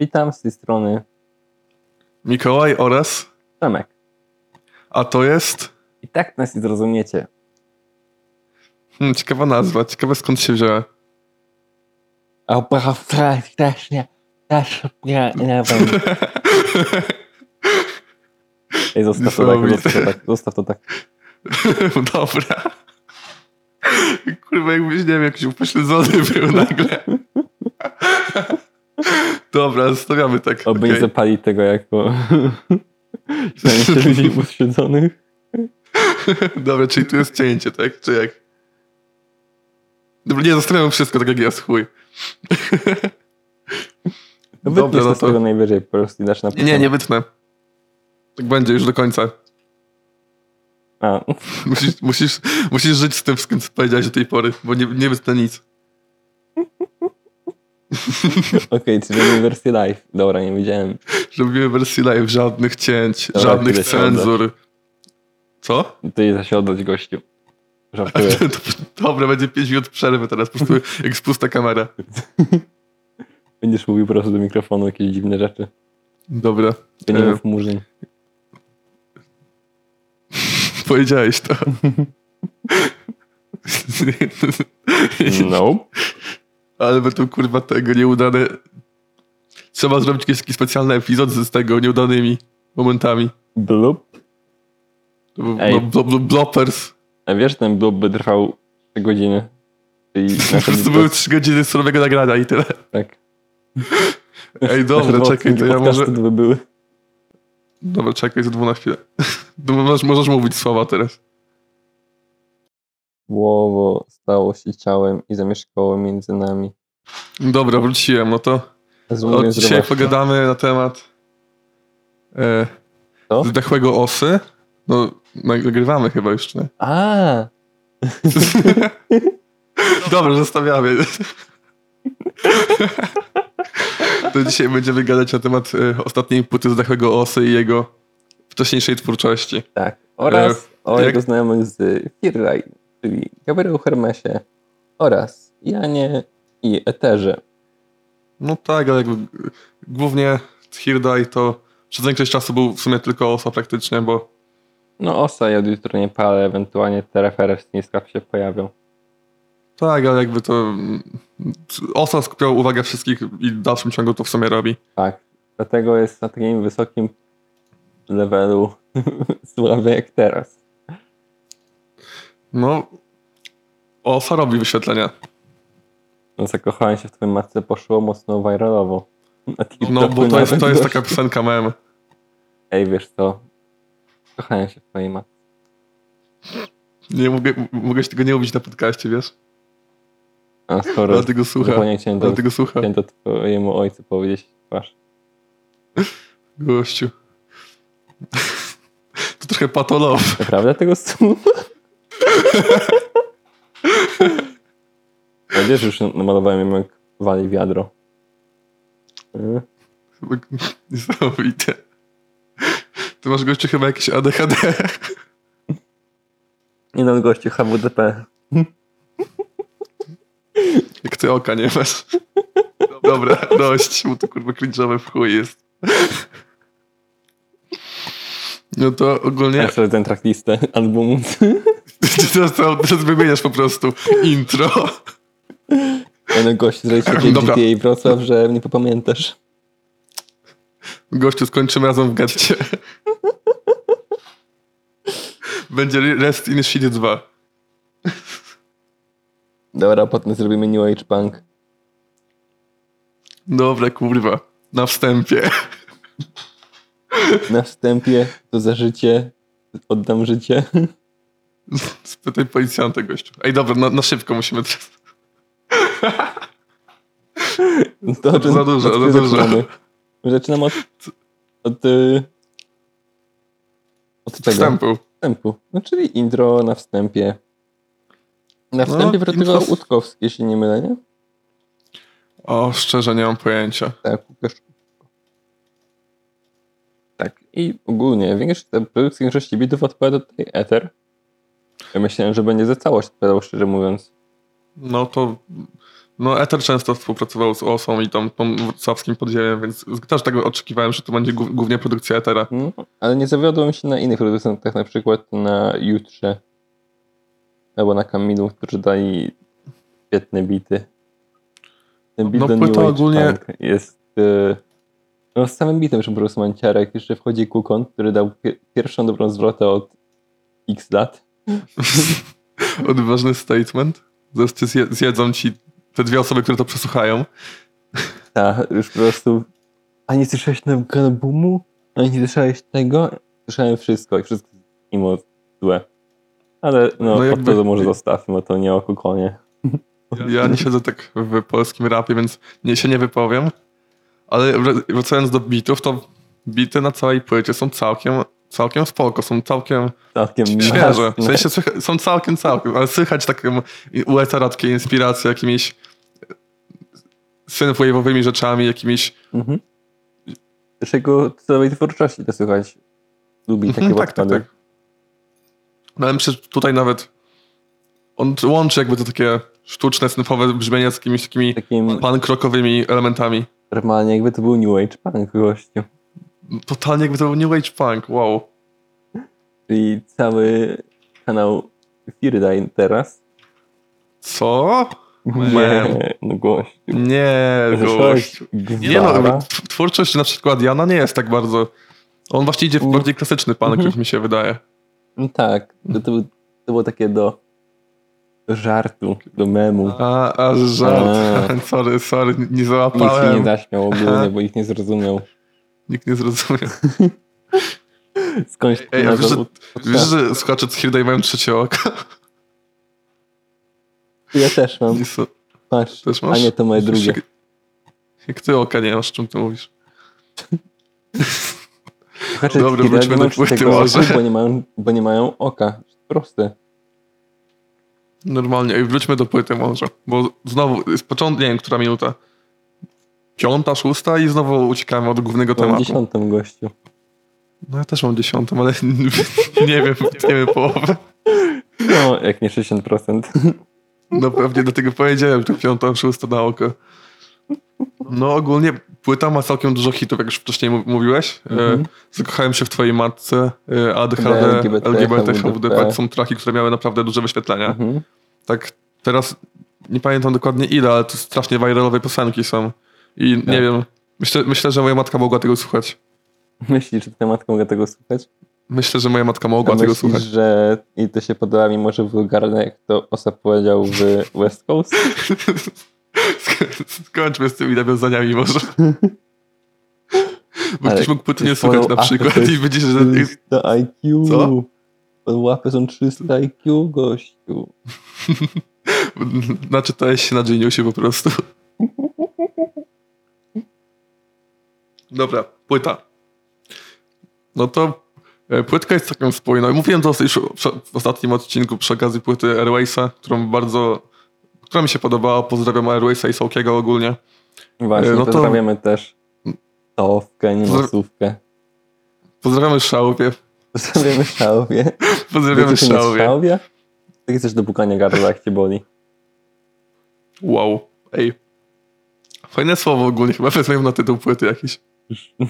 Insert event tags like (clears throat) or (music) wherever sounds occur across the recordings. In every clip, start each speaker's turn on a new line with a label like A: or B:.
A: Witam z tej strony
B: Mikołaj oraz.
A: Przemek.
B: A to jest.
A: I tak nas nie zrozumiecie.
B: Hmm, ciekawa nazwa, ciekawe skąd się wzięła. (laughs)
A: A prawda też nie, też nie, nie wiem. Ej, zostaw to tak,
B: Niesamowite.
A: zostaw to tak, zostaw to tak.
B: Dobra. Kurwa, jakbyś, nie wiem, jakiś upośledzony był nagle. Dobra, zostawiamy tak.
A: Oby nie
B: okej.
A: zapali tego
B: (laughs)
A: jako... Zdaje się ludzi upośledzonych.
B: (laughs) Dobra, czyli tu jest cięcie, tak? Czy jak? Dobra, nie, zostawiam wszystko tak jak jest, chuj.
A: No
B: Dobra,
A: wytniesz
B: no
A: to z
B: to-
A: tego najwyżej, po prostu i dasz na
B: Nie, nie, nie wytnę. Tak będzie już do końca. (laughs)
A: A, (laughs)
B: Musisz, musisz, musisz żyć z tym wszystkim, co powiedziałeś do tej pory, bo nie, nie wytnę nic.
A: okej, czyli robimy wersję live. Dobra, nie widziałem.
B: Robimy wersję live, żadnych cięć,
A: Dobra,
B: żadnych
A: tyle się odda.
B: cenzur. Co?
A: To idę się oddać gościu.
B: (laughs)
A: Żartuję.
B: Dobra, będzie 5 minut przerwy teraz,
A: (laughs)
B: po prostu jak spusta kamera.
A: Będziesz mówił po prostu do mikrofonu jakieś dziwne rzeczy.
B: Dobra,
A: To nie
B: E.
A: mów
B: (laughs)
A: murzyn. (laughs)
B: powiedziałeś to. (laughs)
A: Nope.
B: No. Ale będą kurwa tego nieudane... Trzeba zrobić jakiś taki specjalny epizod z tego nieudanymi momentami.
A: Bloop. Ej.
B: No, blo, blo, bloppers.
A: A wiesz, ten bloop by trwał 3 godziny.
B: (laughs)
A: Czyli
B: Po prostu były
A: podcast-
B: 3 godziny surowego nagrania i tyle.
A: tak. Nasze (laughs)
B: Ej, dobra,
A: dwa
B: czekaj,
A: odcinki
B: to ja
A: podcastu
B: może...
A: by były.
B: Dobra, No, czekaj, za na chwilę. (laughs) No, Możesz, możesz mówić słowa teraz.
A: Słowo stało się ciałem i zamieszkało między nami.
B: Dobra, wróciłem, no to
A: Rozumiem,
B: od
A: że no.
B: dzisiaj
A: was-
B: pogadamy na temat e,
A: Co?
B: zdechłego osy. No, nagrywamy chyba już, nie? (laughs)
A: A,
B: Dobra, zostawiamy. (laughs) to dzisiaj będziemy gadać na temat e, ostatniej płyty zdechłego osy i jego wcześniejszej twórczości.
A: tak. Oraz o
B: jak-
A: jego znajomych z Firraj, czyli Gabrielu Hermesie oraz Janie i Eterze.
B: No tak, ale jakby głównie Hirdaj to przez większość czasu był w sumie tylko osa praktycznie, bo
A: No Osa i od jutro nie palę, ewentualnie te refery z Niskaw się pojawią.
B: tak, ale jakby to mm, osa skupiał uwagę wszystkich i w dalszym ciągu to w sumie robi.
A: Tak, dlatego jest na takim wysokim levelu (laughs) sławy jak teraz.
B: No, osa robi wyświetlenia.
A: No zakochałem się w twojej matce, poszło mocno viralowo. Na TikToku
B: No, bo to
A: nawet
B: jest, to jest
A: gość-
B: taka piosenka mem.
A: Ej, wiesz co? Kochałem się w twojej matce.
B: Nie mogę, m- mogę się tego nie mówić na podcaście, wiesz?
A: A skoro
B: Dlatego słucha.
A: zupełnie chciałem to,
B: Dlatego słucha,
A: chciałem to twojemu ojcu powiedzieć w twarz.
B: gościu. (laughs) To trochę patolow.
A: Naprawdę tego słucha? A wiesz, już namalowałem ją jak wali wiadro. Y?
B: (laughs) Niesamowite. Ty masz gościu chyba jakieś ADHD.
A: Nie no, gościu HWDP.
B: Jak ty oka nie masz. Dobra, dość, bo to kurwa cringe'owe w chuj jest. No to ogólnie...
A: Ja sobie ten tracklistę
B: (laughs)
A: albumu.
B: Ty teraz, (laughs) to- teraz wymieniasz po prostu intro.
A: Ten gość zrobił takie
B: Dobra.
A: GTA Wrocław, że nie popamiętasz.
B: Gościu, skończymy razem w getcie. Będzie Rest in Shit 2.
A: Dobra, potem zrobimy New Age Punk.
B: Dobra, kurwa. Na wstępie.
A: Na wstępie to za życie, oddam życie. (laughs)
B: Spytaj policjanta, gościu. Ej, dobra, na, na szybko musimy teraz.
A: To, o czym-
B: Za dużo,
A: od czego
B: za dużo.
A: zaczynamy? Zaczynam od... Od... y, Od czego?
B: Wstępu.
A: Wstępu. No czyli intro na wstępie. Na
B: No,
A: wstępie wrotywał
B: intro-
A: Utkowski, jeśli nie mylę, nie?
B: O, szczerze nie mam pojęcia.
A: Tak, Łukasz. Tak, i ogólnie większość, ta produkcja większości bitów odpowiada tutaj Ether. Ja myślałem, że będzie za całość odpowiadał, szczerze mówiąc.
B: No to No, Ether często współpracował z OSą i tam tą wrocławskim podziemiem, więc też tego oczekiwałem, że to będzie głó- głównie produkcja Ethera.
A: No, ale nie zawiodłem się na innych producentach, na przykład na Jutrze albo na Kamilu, którzy dali świetne bity. Ten beat
B: No,
A: do New
B: płyta
A: Age
B: ogólnie-
A: Punk jest e, no, z samym bitem, że po prostu manciarek. Jeszcze wchodzi Kukon, który dał pie- pierwszą dobrą zwrotę od x lat.
B: Odważny statement. Zaraz cię zje- zjedzą ci te dwie osoby, które to przesłuchają.
A: Tak, już po prostu a nie słyszałeś nowego albumu? A No nie słyszałeś tego? Słyszałem wszystko i wszystko jest mimo złe. Ale no,
B: No
A: no
B: jakby-
A: to może zostawmy, bo to nie o Kukonie.
B: Ja nie siedzę tak w polskim rapie, więc nie, się nie wypowiem. Ale wr- wracając do bitów, to bity na całej płycie są całkiem, całkiem spoko, są całkiem
A: całkiem
B: świeże. W
A: jasne.
B: sensie słycha- są całkiem, całkiem, ale słychać taką u Ethera takie inspiracje jakimiś synthwave'owymi rzeczami, jakimiś
A: Mhm. Z jego całej twórczości to słychać. Lubi takie
B: Mhm,
A: podkłady.
B: No ale przecież tutaj nawet on łączy jakby to takie sztuczne, synowe brzmienia z jakimiś takimi
A: Takim
B: pankrokowymi elementami.
A: normalnie jakby to był New Age punk gościu.
B: Totalnie jakby to był New Age Punk, wow.
A: Czyli cały kanał Firdain teraz.
B: Co? Man.
A: Nie, no gość.
B: Nie, gość. Nie no,
A: Gwara.
B: tw- twórczość na przykład Jana nie jest tak bardzo... On właśnie idzie w
A: Mm.
B: bardziej klasyczny punk,
A: Mhm.
B: jak mi się wydaje.
A: No tak, to, to, był- to było takie do żartu, do memu.
B: A, a żart. (laughs) sorry, sorry, nie
A: Nikt Eee. się nie
B: załapałem.
A: zaśmiał ogólnie, bo ich nie zrozumiał.
B: Nikt nie zrozumiał.
A: Skądś Tak,
B: Ej, a wiesz, że,
A: nazwał-
B: wiesz, że słuchacze z Hirdaj mają trzecie oko?
A: Ja też mam.
B: Nie są-
A: Patrz,
B: Też
A: No. a
B: masz?
A: nie to moje drugie.
B: Jak, jak ty oka nie masz, czym ty mówisz?
A: Słuchacze
B: Dobra,
A: Skida
B: wróćmy
A: nie
B: do
A: mają
B: płyty
A: czystego
B: może.
A: oka, bo nie mają, bo nie mają oka. Proste.
B: Normalnie. Ej, wróćmy do płyty może, bo znowu z początku, nie wiem, która minuta. Piąta, szósta i znowu uciekamy od głównego
A: Mam
B: tematu.
A: dziesiątą gościu.
B: No ja też mam dziesiątą, ale (laughs) nie wiem, nie wiem połowę.
A: No, jak nie 60%.
B: No pewnie do tego powiedziałem, to piąta, szósta na oko. No ogólnie płyta ma całkiem dużo hitów, jak już wcześniej mu- mówiłeś. E,
A: Mhm.
B: Zakochałem się w twojej matce, e, ADHD,
A: LGBT,
B: LGBT, HWDP.
A: HWDP.
B: Są traki, które miały naprawdę duże wyświetlenia.
A: Mhm.
B: tak teraz nie pamiętam dokładnie ile, ale to strasznie viralowe piosenki są. I nie
A: Tak.
B: wiem, myślę, myślę, że moja matka mogła tego słuchać.
A: (laughs) Myślisz, że ta matka mogę tego słuchać?
B: Myślę, że moja matka mogła
A: A
B: tego
A: myślisz,
B: słuchać.
A: że i to się podoba mimo, że wulgarne, jak to Osa powiedział w West Coast?
B: Sk- Skończmy z tymi nawiązaniami może. Bo
A: Ale
B: ktoś mógł płyty nie
A: jest
B: słuchać na
A: follow-upy,
B: przykład
A: to jest
B: i będzie, że...
A: 300 IQ.
B: Co?
A: Łapy są 300 IQ, gościu.
B: Naczytałeś znaczy się na Geniusie po prostu. Dobra, płyta. No to e, płytka jest taką spójną. Mówiłem to już w- w ostatnim odcinku przy okazji płyty Airwaysa, którą bardzo... która mi się podobała. Pozdrawiam Airwaysa i Sołkiego ogólnie.
A: Właśnie,
B: E, no to-
A: pozdrawiamy też Towkę, nie
B: Pozdra-
A: masówkę.
B: Pozdrawiamy Szałwie.
A: Pozdrawiamy Szałwie.
B: Pozdrawiamy
A: Wiecie, czym jest
B: Szałwie.
A: Szałwia? To jest też do pukania gardła, jak cię boli.
B: Wow. Ej. Fajne słowo ogólnie. Chyba wezmę ją na tytuł płyty jakiś.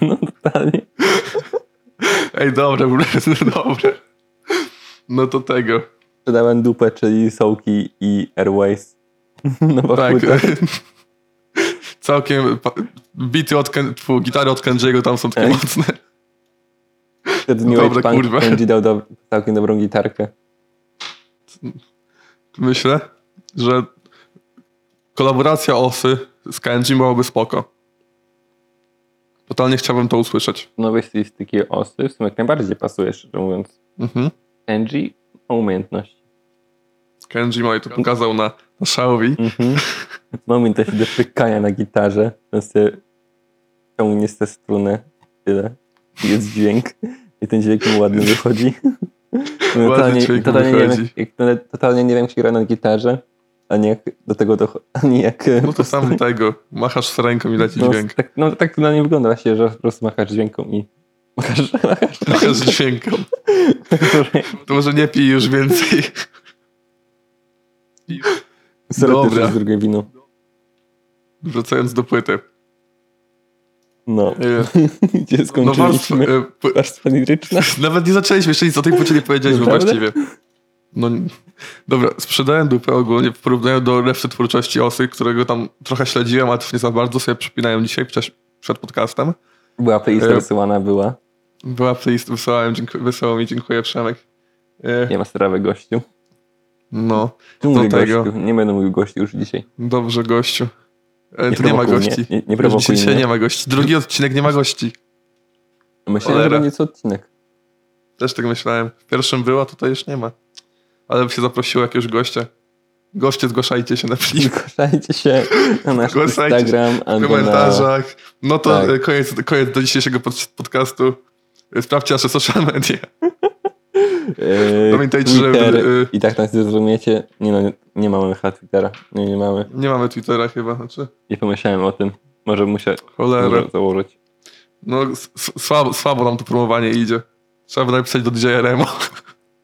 A: No totalnie.
B: Ej, dobre, (laughs) dobre. No to tego.
A: Sprzedałem dupę, czyli sołki i Airways. No bo
B: Tak.
A: płyta.
B: (laughs) Całkiem pa- bity od Ken, tfu, gitary od Kenji'ego tam są takie
A: Ej.
B: mocne.
A: Wtedy New
B: Dobra,
A: Age Punk
B: kurwa.
A: będzie dał do, całkiem dobrą gitarkę.
B: Myślę, że kolaboracja Osy z Kenji byłaby spoko. Totalnie chciałbym to usłyszeć.
A: W nowej stylistyki osy w sumie jak najbardziej pasuje, szczerze mówiąc.
B: Mhm.
A: Angie ma umiejętności.
B: Kenji Moje to pokazał na, na Shaowi.
A: Mhm. (laughs) Ma umiejętności do pykania na gitarze. To sobie ciągnie tę strunę. Tyle. I Jest dźwięk. I ten dźwięk mu ładnie
B: (laughs)
A: wychodzi. No,
B: dźwięk mu
A: totalnie, nie wiem,
B: wychodzi.
A: jak, jak- totalnie nie wiem, jak się gra na gitarze, ani jak do tego dochodzi, ani jak...
B: No to sam tego. Machasz z ręką i leci
A: (laughs) no,
B: dźwięk.
A: Tak, no tak to na nie wygląda właśnie, że po prostu machasz dźwięką i machasz, (laughs) machasz
B: Machasz dźwięką. To może nie pij już więcej. (laughs)
A: Dobra.
B: Dobra.
A: z drugie wino.
B: Wracając do płyty.
A: No, (laughs)
B: E,
A: gdzie
B: No warstw,
A: skończyliśmy?
B: e, pły-
A: Warstwa liryczna?
B: Nawet nie zaczęliśmy, jeszcze nic o tej płycie nie powiedzieliśmy
A: Naprawdę?
B: właściwie. No, n- dobra, sprzedałem dupę ogólnie w porównaniu do reszty twórczości Osy, którego tam trochę śledziłem, ale też nie za bardzo sobie przypinałem dzisiaj przed, przed podcastem.
A: Była playlista
B: E,
A: wysyłana, była.
B: Była playlist, wysłałem, dziękuję, wysłał mi, dziękuję Przemek. E,
A: Nie ma strawy gościu.
B: No,
A: Tu mówię
B: Do tego.
A: gościu, nie będę mówił gościu już dzisiaj.
B: dobrze gościu. E,
A: Nie
B: tu nie ma
A: prowokuj mnie,
B: gości.
A: nie- nie
B: Już
A: prowokuj
B: Dzisiaj
A: mnie.
B: nie ma gości. Drugi odcinek nie ma gości.
A: Myślałem, że
B: Cholera.
A: będzie co
B: (laughs)
A: odcinek.
B: Też tak myślałem. W pierwszym była, tutaj już nie ma. Ale by się zaprosiło jakiegoś gościa. Goście, zgłaszajcie się na
A: (laughs)
B: film.
A: Zgłaszajcie się na nasz
B: Zgłaszajcie się
A: Instagram
B: w
A: albo na...
B: komentarzach. No to
A: Tak.
B: e, koniec, koniec do dzisiejszego pod- podcastu. E, Sprawdźcie nasze social media. (laughs)
A: e,
B: Pamiętajcie, że-
A: Twitter.
B: e,
A: I tak nas nie zrozumiecie. Nie no, nie mamy chyba Twittera. Nie, nie mamy.
B: Nie mamy Twittera chyba, znaczy.
A: Nie pomyślałem o tym. Może muszę
B: Cholera.
A: może założyć.
B: No s- s- słabo, słabo nam to promowanie idzie. Trzeba by napisać do DJ Remo.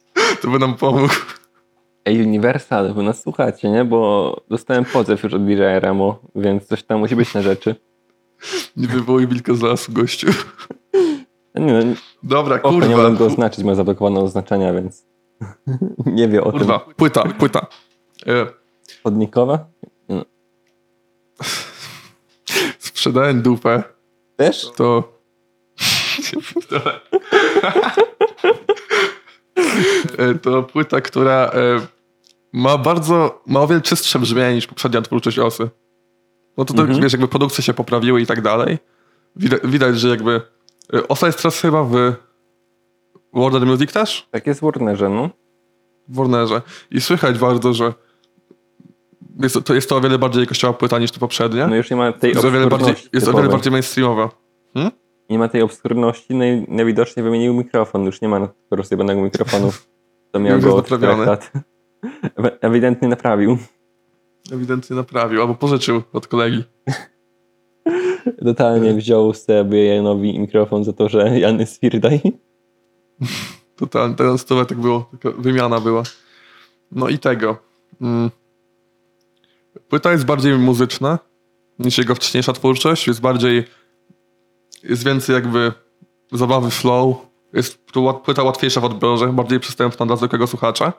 B: (laughs) To by nam pomógł.
A: Ej, Universal, wy nas słuchacie, nie? Bo dostałem pozew już od DJ Remo, więc coś tam musi być na rzeczy.
B: Nie wywołuj wilka z lasu, gościu.
A: Nie, no,
B: Dobra,
A: Kurwa. nie
B: kurwa.
A: mogę go oznaczyć, ma zablokowane oznaczenia, więc (laughs) nie wie o
B: Kurwa,
A: tym.
B: płyta, płyta. E,
A: Chodnikowa?
B: sprzedałem dupę,
A: Też? (laughs)
B: to... E, to płyta, która e, ma bardzo, ma o wiele czystsze brzmienie niż poprzednia twórczość Osy. No to, to
A: Mhm.
B: wiesz, jakby produkcje się poprawiły i tak dalej. Widać, widać że jakby... e, Osa jest teraz chyba w Warner Music też?
A: Tak jest w Warnerze, no.
B: w Warnerze. I słychać bardzo, że jest, to jest to o wiele bardziej jakościowa płyta niż to poprzednie.
A: No już nie ma tej
B: Tak? jest o wiele bardziej,
A: obskurności
B: jest o wiele
A: typowej.
B: bardziej mainstreamowa.
A: Nie ma tej obskurności, no i najwidoczniej wymienił mikrofon. Już nie ma rozjebanego
B: (laughs)
A: mikrofonu. To miał
B: Już
A: go
B: jest
A: od czterech
B: naprawiony.
A: (laughs) lat. Ew- Ewidentnie
B: (laughs)
A: naprawił.
B: Ewidentnie naprawił albo pożyczył od kolegi.
A: Totalnie wziął sobie Janowi mikrofon za to, że Jan jest Firdaj.
B: Totalnie, teraz to tak było, taka wymiana była. No i tego. Mm. Płyta jest bardziej muzyczna niż jego wcześniejsza twórczość. Jest bardziej, jest więcej jakby zabawy flow. Jest to łat- płyta łatwiejsza w odbiorze, bardziej przystępna dla zwykłego słuchacza.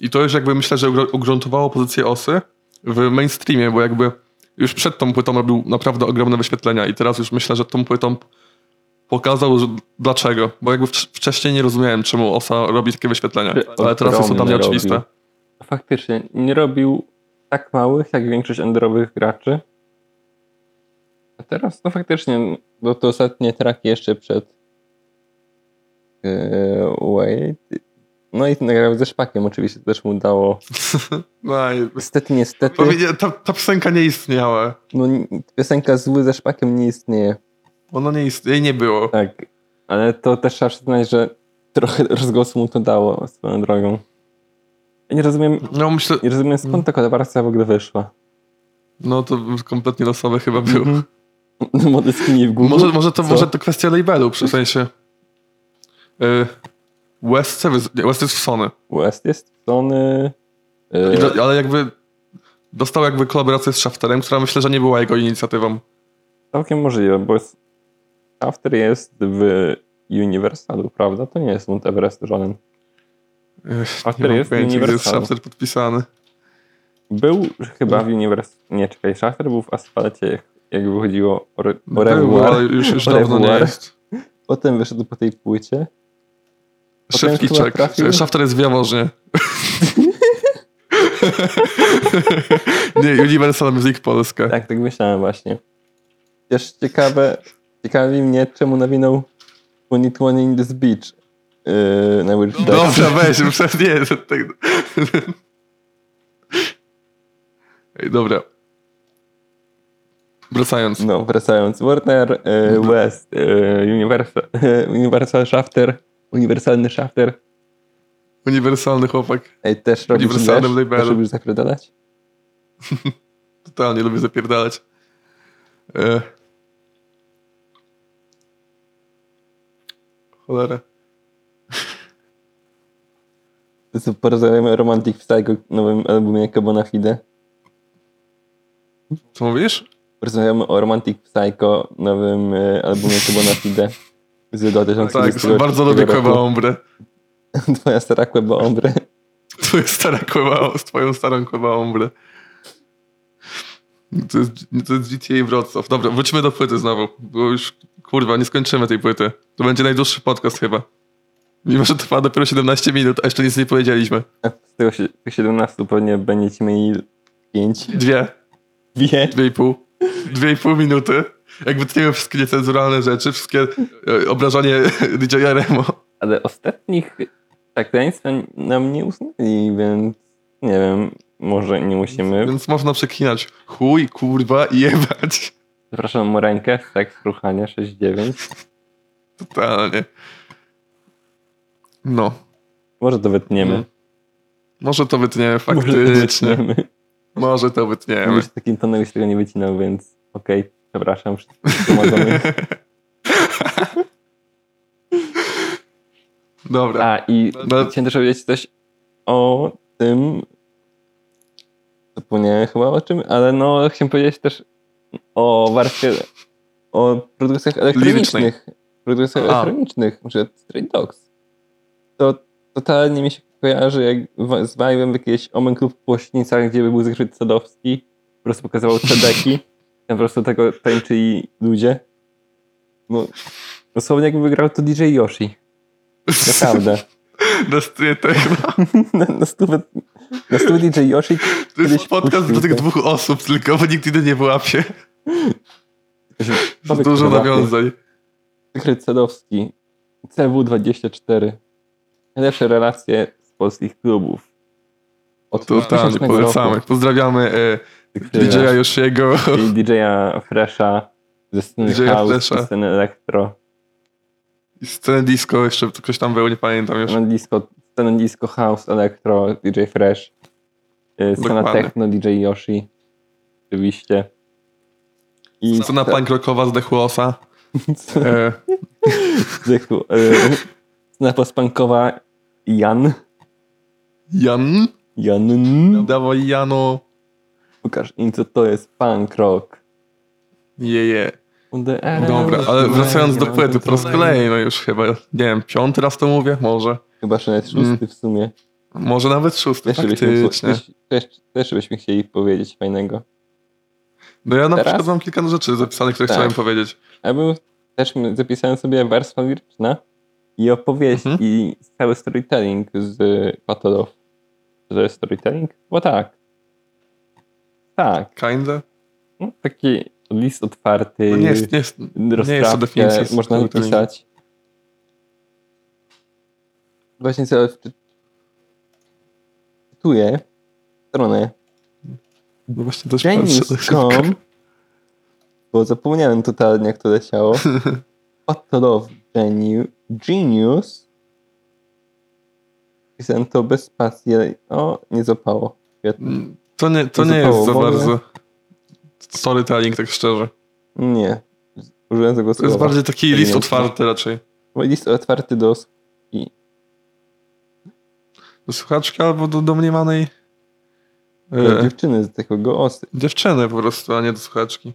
B: I to już jakby myślę, że ugru- ugruntowało pozycję Osy w mainstreamie, bo jakby już przed tą płytą robił naprawdę ogromne wyświetlenia i teraz już myślę, że tą płytą pokazał, że dlaczego. Bo jakby wcz- wcześniej nie rozumiałem, czemu Osa robi takie wyświetlenia. Ale teraz jest to dla mnie
A: Ogromne
B: oczywiste.
A: robi. Faktycznie, nie robił tak małych, jak większość enderowych graczy. A teraz, no faktycznie, bo to ostatnie traki jeszcze przed yy, Wait. No i nagrał ze szpakiem oczywiście, też mu dało.
B: (laughs) No i
A: Niestety, niestety,
B: Powiedz- ta, ta piosenka nie istniała.
A: no ni- piosenka Zły ze szpakiem nie istnieje.
B: Ona nie istniała, jej nie było.
A: Tak, ale to też trzeba przyznać, że trochę rozgłosu mu to dało swoją drogą. Ja nie rozumiem,
B: No myślę,
A: nie rozumiem skąd ta kolaboracja w ogóle wyszła. (laughs)
B: no to kompletnie losowe chyba było.
A: Młody skinny w Google.
B: Może, może, to,
A: Mhm. Co?
B: może to kwestia labelu, przy sensie. Y, West, Seven- nie, West jest w Sony.
A: West jest Sony.
B: I
A: Yy,
B: do, ale jakby dostał jakby kolaborację z Shafterem, która myślę, że nie była jego inicjatywą.
A: Całkiem możliwe, bo jest- After jest w Universalu, prawda? To nie jest Mount Everest żaden.
B: Yy,
A: Shafter jest
B: gdzie jest
A: Universal.
B: Shafter podpisany.
A: Był chyba w Universalu. Nie, czekaj, Shafter był w Asfalcie, jak, jak wychodziło o, re, o
B: Był, ale
A: Revoir.
B: już, już
A: O
B: dawno nie
A: Revoir.
B: jest.
A: Potem wyszedł po tej płycie. Potem
B: Szybki
A: chyba
B: czek.
A: trafił-
B: Shafter jest w
A: (laughs)
B: Jaworznie. nie, Universal Music Polska.
A: Tak, tak myślałem właśnie. Też ciekawe, ciekawi mnie, czemu nawinął 2020 in this beach. Yy, na Weird Dead.
B: Dobra, weź, muszę nie. to Tak. Ej, dobra. Wracając.
A: No, wracając. Warner e, West, e, Universal, e, Universal Shafter, uniwersalny Shafter.
B: Uniwersalny chłopak.
A: Ej, też robisz
B: Uniwersalnym
A: deszcz?
B: labelem.
A: Też lubisz zapierdalać?
B: Totalnie lubię zapierdalać. E. Cholera.
A: To co, porozmawiamy o Romantic Psycho nowym albumie Kabona Fide.
B: Co mówisz?
A: Rozmawiamy o Romantic Psycho, nowym y, albumie chyba na Fide z 2020
B: Tak, bardzo lubię
A: roku. (laughs)
B: Cueva Ombre.
A: Twoja stara Queba Ombre.
B: To jest stara Cueva, z twoją starą Cueva Ombre. To jest, to jest GTA Wrocław. Dobra, wróćmy do płyty znowu, bo już, kurwa, nie skończymy tej płyty. To będzie najdłuższy podcast chyba. Mimo, że trwa dopiero 17 minut, a jeszcze nic nie powiedzieliśmy.
A: A Z tego sie- tych 17 pewnie będziecie mieli (laughs) 5.
B: Dwie,
A: Wie.
B: dwie i pół, dwie i pół minuty. Jak wytniemy wszystkie niecenzuralne rzeczy, wszystkie e, obrażanie (laughs) DJ-a Remo.
A: Ale ostatnich przekręństw nam nie uznali, więc nie wiem, może nie musimy.
B: Więc można przeklinać chuj, kurwa i jebać.
A: Zapraszam Morenkę, tak, z ruchania 6-9.
B: Totalnie. No.
A: Może to wytniemy.
B: Mm, Może to wytniemy
A: Może to
B: faktycznie.
A: wytniemy.
B: Może to wytniemy.
A: Mówisz takim tonem, już tego nie wycinał, więc okej, przepraszam, wszystkich pomagamy.
B: Dobra.
A: A i
B: No.
A: chciałem też powiedzieć coś o tym, zapomniałem chyba o czym, ale no chciałem powiedzieć też o warstwie, o produkcjach elektronicznych. Produkcjach
B: A.
A: elektronicznych, że Stray Dogs. To totalnie mi się kojarzy jak wa- z vibe'em jakiegoś Omen Club w Płośnicach, gdzie by był zakryty Sadowski, po prostu pokazywał
B: (laughs)
A: cedeki, tam po prostu tego tańczyli ludzie. No, dosłownie jakby wygrał to DJ Yoshi,
B: (laughs)
A: naprawdę.
B: Na stronie techno.
A: Na, na, stówę, na stówę DJ Yoshi
B: To jest
A: Kiedyś
B: podcast
A: puścił
B: do tych
A: to.
B: dwóch osób, tylko bo nikt inny nie wyłapie.
A: Tomek
B: Dużo
A: Królaki,
B: nawiązań.
A: Sekret Sadowski, CW24. Najlepsze relacje z polskich klubów. Od
B: Totalnie
A: 2000 roku.
B: polecamy. Pozdrawiamy e,
A: Sekret
B: DJ-a Joshiego.
A: Czyli DJ-a Fresha ze sceny
B: DJ-a
A: house,
B: Fresha.
A: ze sceny elektro,
B: I scenę disco jeszcze ktoś tam był, nie pamiętam już.
A: sceny disco, sceny disco house, elektro, DJ Fresh, y, scena
B: Dokładnie.
A: techno, DJ Yoshi, oczywiście. I
B: Scena
A: (laughs)
B: punk rockowa z Dechłosa.
A: scena-
B: E,
A: Zychu. y, Scena pospankowa Jan.
B: Jan?
A: Jan.
B: Dawaj Jano.
A: Pokaż im, co to jest punk rock. e,
B: Jeje. Dobra, ale wracając do płyty, po raz kolejny no już chyba, nie wiem, piąty raz to mówię? Może.
A: Chyba, że nawet szósty w sumie.
B: Może nawet szósty,
A: Też byśmy,
B: Mm. faktycznie.
A: też, też, też byśmy chcieli powiedzieć fajnego.
B: No ja na
A: Teraz?
B: przykład mam kilka rzeczy zapisanych, które
A: Tak.
B: chciałem powiedzieć.
A: Ja bym też m- zapisałem sobie warstwa liryczna i opowieść
B: Mhm.
A: i cały storytelling z Patolow. To jest storytelling? Bo tak. Tak.
B: Kinda?
A: No, taki list otwarty.
B: No nie jest, nie jest.
A: rozprawkę
B: jest to definicja z
A: można
B: której to
A: wypisać. Właśnie sobie wczy- czytuję stronę
B: No właśnie też patrzę tak szybko.
A: genius.com bo zapomniałem totalnie jak to
B: (laughs)
A: leciało What Love Genius Genius pisałem to bez pasji ale- o, nie zapało Świetnie.
B: Mm, To nie, to
A: To
B: nie jest za
A: zupełnie.
B: bardzo storytelling, tak szczerze.
A: nie, użyłem tego
B: To jest
A: słowa
B: bardziej taki
A: To nie
B: list
A: jest.
B: otwarty raczej.
A: list otwarty do osób
B: Do słuchaczki albo do domniemanej
A: do
B: e,
A: dziewczyny z takiego osy
B: dziewczyny po prostu, a nie do słuchaczki.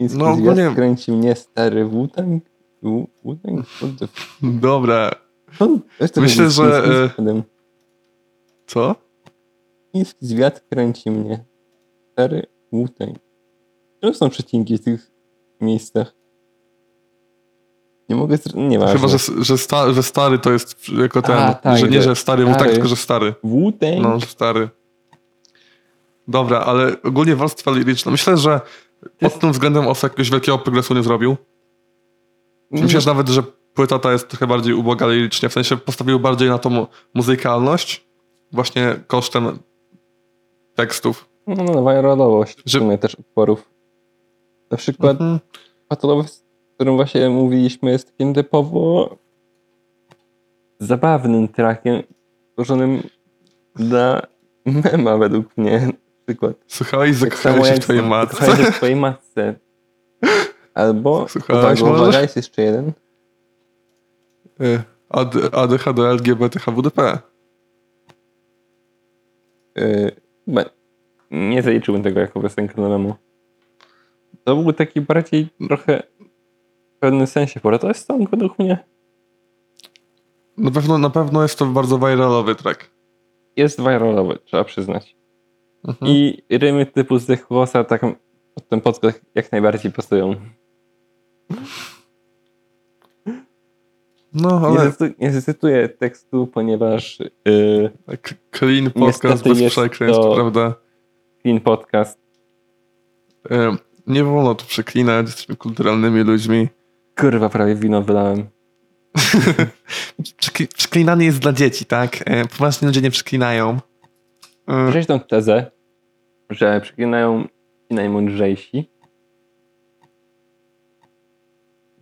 B: No,
A: No ogólnie...
B: ogólnie-
A: kręci mnie stary Wu-Tang. Wu- Wu-Tang? What the f-
B: Dobra,
A: On- to
B: Myślę,
A: jest
B: że,
A: chiński
B: e,
A: z wiatrem.
B: co?
A: Chiński zwiat kręci mnie. Stary Wu-Tang. Czemu są przecinki w tych miejscach? Nie mogę... zr- Nie ma.
B: Chyba, że, że, sta, że stary to jest jako ten.
A: A, tak,
B: że nie,
A: że
B: że stary, bo tak,
A: stary.
B: tylko że stary.
A: Wu-Tang?
B: No, że stary. Dobra, ale ogólnie warstwa liryczna. Myślę, że pod tym względem Osa jakiegoś wielkiego progresu nie zrobił. Myślę że nawet, że płyta ta jest trochę bardziej uboga lirycznie. W sensie postawił bardziej na tą mu- muzykalność właśnie kosztem tekstów.
A: No, no, wajrolowość.
B: Że-
A: Że... też utworów. Na przykład
B: Mhm.
A: patolowy, z którym właśnie mówiliśmy, jest takim typowo zabawnym trackiem, stworzonym dla mema według mnie. Na przykład.
B: Słuchałeś,
A: Tak
B: zakochałeś się w twojej matce. (laughs)
A: zakochałeś się w twojej matce. Albo,
B: Słuchałeś
A: uwaga,
B: może?
A: uwaga, jest jeszcze jeden.
B: Y, AD- ADHD, LGBT, HWDP.
A: Yy, Y, be- nie zaliczyłbym tego jako piosenkę na memu. To był taki bardziej trochę w pewnym sensie poratowy song według mnie.
B: Na pewno, na pewno jest to bardzo viralowy track.
A: Jest viralowy, trzeba przyznać.
B: Mhm.
A: I rymy typu zdech włosa tak pod ten podkład jak najbardziej pasują.
B: No,
A: Nie,
B: ale
A: zacytu- nie zacytuję tekstu, ponieważ yy,
B: k- tak clean podcast
A: Niestety
B: bez
A: jest
B: przekleństw,
A: to-
B: prawda?
A: Clean Podcast.
B: E, nie wolno tu przeklinać, jesteśmy kulturalnymi ludźmi.
A: Kurwa, prawie wino
B: Mhm.
A: wylałem.
B: (laughs) Przekli- Przeklinanie jest dla dzieci, tak? E, Poważni ludzie nie przeklinają. E,
A: Przejść tą tezę, że przeklinają ci najmądrzejsi.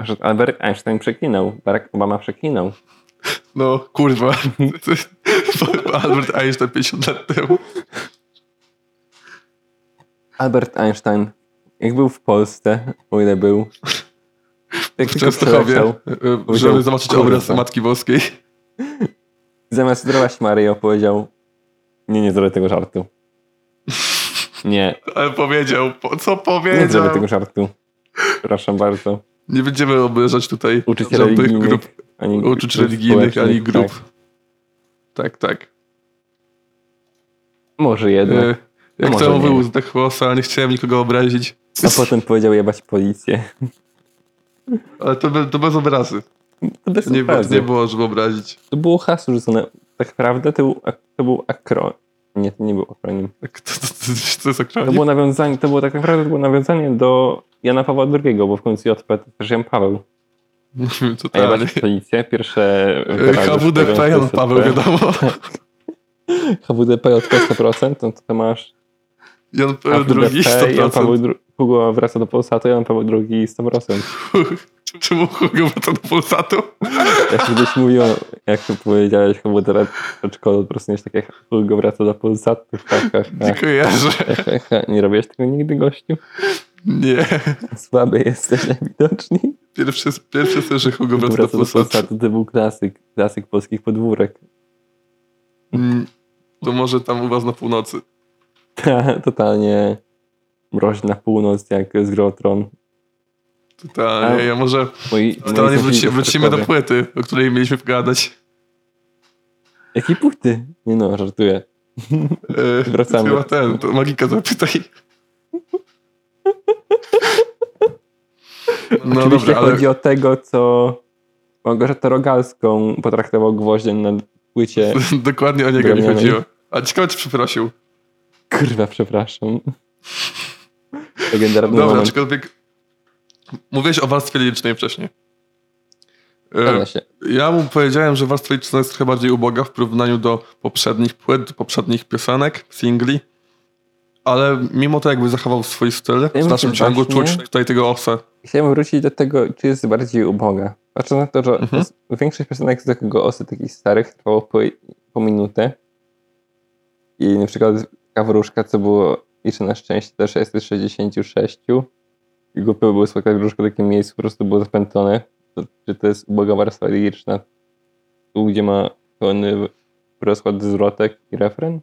A: Że Albert Einstein przeklinał, Barack Obama przeklinał.
B: No, kurwa. (laughs) Albert Einstein 50 lat temu.
A: Albert Einstein, jak był w Polsce, o ile był, jak
B: W
A: tylko
B: Częstochowie,
A: przeleciał,
B: e, żeby zobaczyć
A: kurwa.
B: obraz Matki Boskiej.
A: zamiast zdrować Maryjo, powiedział nie, nie zrobię tego żartu. Nie,
B: Ale powiedział, po, co
A: nie
B: powiedział?
A: zrobię tego żartu. Przepraszam bardzo.
B: Nie będziemy obejrzeć tutaj
A: Uczuć
B: żadnych
A: religijnych,
B: grup,
A: ani
B: uczuć
A: grup
B: religijnych ani
A: społecznych,
B: grup.
A: tak.
B: Tak, tak.
A: Może jednak.
B: E,
A: No.
B: Jak
A: może
B: to
A: nie.
B: mówił Zdech Łosa, nie chciałem nikogo obrazić,
A: A potem powiedział jebać policję.
B: ale to, be, to bez obrazy.
A: To bez
B: Nie, było-
A: obrazy.
B: nie było, żeby obrazić.
A: To było hasło rzucone. Tak naprawdę to był, ak- to był akro... Nie, to nie był akronim.
B: Tak, To, to, to, to jest
A: To
B: okropne.
A: było nawiązanie, to było tak naprawdę to było nawiązanie do Jana Pawła II, bo w końcu JP to też Jan Paweł.
B: Nie wiem, co
A: A
B: tam.
A: jebać policję, pierwsze...
B: Tak. E, HWDP, Jan Paweł, wiadomo.
A: HWDP od 100%, no to masz
B: Jan Paweł II,
A: HWDP, Jan Paweł
B: 100%.
A: II Hugo wraca do Polsatu, Jan Paweł II 100%.
B: Czemu Hugo wraca do Polsatu?
A: Tak. Jak kiedyś mówiłem, jak to powiedziałeś HWDP, to po prostu nie jest takie Hugo wraca do Polsatu, ha, ha, ha.
B: Nie kojarzę.
A: He, he, he. Nie robiłeś tego nigdy, gościu?
B: Nie.
A: Słaby jesteś (laughs) najwidoczniej.
B: Pierwszy, pierwszy słyszę Hugo wraca do
A: Wraca do
B: Polsatu.
A: Polsatu, to był klasyk, klasyk polskich podwórek. (laughs)
B: Mm, To może tam u was na północy.
A: Ta, totalnie mroźna północ, jak z gry o Tron.
B: Totalnie.
A: A-
B: Ja może
A: Moi,
B: totalnie
A: moi
B: wróci,
A: znajomi
B: wrócimy do
A: Krakowie.
B: płyty, o której mieliśmy pogadać.
A: Jakie płyty? Nie no, żartuję.
B: E,
A: Wracamy.
B: Chyba ten, to magika zapytaj. No
A: Oczywiście
B: dobra, ale
A: chodzi o tego, co Małgorzatę Rogalską potraktował gwoździem na
B: (laughs)
A: płycie.
B: dokładnie o niego mi
A: Drewnianej.
B: chodziło. A ciekawe, czy przeprosił.
A: Kurwa, przepraszam. Legendarny
B: Dobra,
A: moment.
B: aczkolwiek mówiłeś o warstwie lirycznej wcześniej. E,
A: Zgadza się.
B: Ja mu powiedziałem, że warstwa liryczna jest trochę bardziej uboga w porównaniu do poprzednich płyt, do poprzednich piosenek, singli. Ale mimo to jakby zachował swój styl,
A: Tym
B: w naszym
A: się
B: ciągu
A: właśnie-
B: czuć tutaj tego osa.
A: Chciałem wrócić do tego, czy jest bardziej uboga. Patrzę na to, że
B: Mhm.
A: z- większość piosenek z takiego osy takich starych trwało po, po minutę. I na przykład taka wróżka, co było liczę na szczęście do 666. I głupio by było spotkać wróżkę w takim miejscu, po prostu było zapętlone. To, czy to jest uboga warstwa liryczna? Tu, gdzie ma pełny rozkład zwrotek i refren?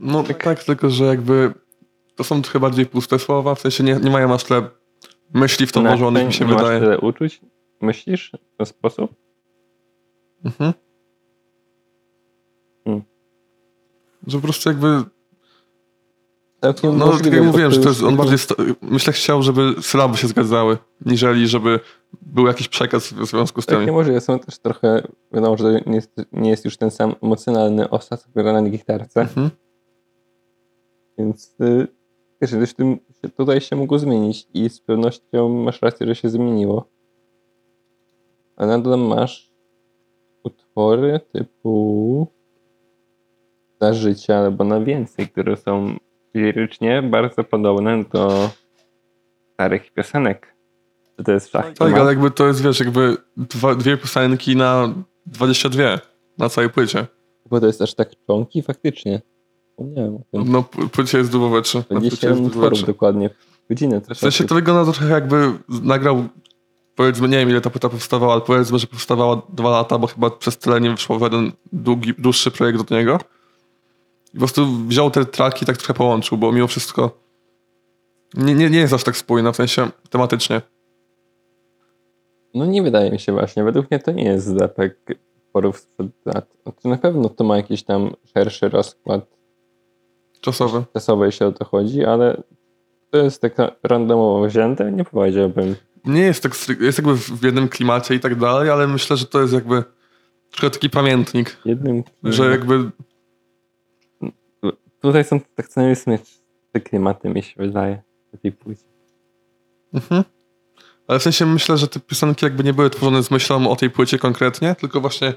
B: No tak. tylko że jakby to są trochę bardziej puste słowa, w sensie nie, nie mają aż tyle myśli w to
A: Na
B: włożonych, mi
A: szczęście
B: się
A: nie
B: wydaje.
A: Masz tyle uczuć? Myślisz w ten sposób?
B: Mhm.
A: Mm.
B: Że po prostu jakby
A: Całkiem
B: No,
A: No,
B: tak
A: możliwe,
B: jak
A: bo
B: mówiłem, że to jest, on
A: już-
B: bardziej, sta- myślę, chciał, żeby sylaby się zgadzały, niżeli żeby był jakiś przekaz w związku z
A: Tak,
B: tym.
A: nie może, ja są też trochę, wiadomo, że to nie jest, nie jest już ten sam emocjonalny osad, co gra na gitarce,
B: Mhm.
A: więc y, wiesz, coś w tym, się- tutaj się mogło zmienić i z pewnością masz rację, że się zmieniło. A nadal masz utwory typu na życie albo na więcej, które są lirycznie bardzo podobne do starych piosenek. Czy to jest szach?
B: Tak, ale jakby to jest, wiesz, jakby dwa, dwie piosenki na 22 na całej płycie.
A: Bo to jest aż tak członki, faktycznie. Wspomniałem o tym.
B: No, p- płycie jest dużo rzeczy. Na płycie jest
A: 27
B: dużo
A: Mhm. utworów
B: rzeczy.
A: dokładnie. Godzinę
B: W sensie
A: troszeczkę.
B: to wygląda trochę jakby nagrał, powiedzmy, nie wiem ile ta płyta powstawała, ale powiedzmy, że powstawała dwa lata, bo chyba przez tyle nie wyszło w jeden długi, dłuższy projekt od niego. I po prostu wziął te traki i tak trochę połączył, bo mimo wszystko nie, nie, nie jest aż tak spójna, w sensie tematycznie.
A: No nie wydaje mi się właśnie. Według mnie to nie jest zlepek porów sprzed lat. Znaczy, na pewno to ma jakiś tam szerszy rozkład
B: Czasowy.
A: czasowy, jeśli o to chodzi, ale to jest tak randomowo wzięte, nie powiedziałbym.
B: Nie jest tak, stryk- jest jakby w w jednym klimacie i tak dalej, ale myślę, że to jest jakby trochę taki pamiętnik,
A: Jednym
B: że jakby
A: Tutaj są tak co najmniej w sumie te klimaty, mi się wydaje, na tej płycie.
B: Mhm. Ale w sensie myślę, że te piosenki jakby nie były tworzone z myślą o tej płycie konkretnie, tylko właśnie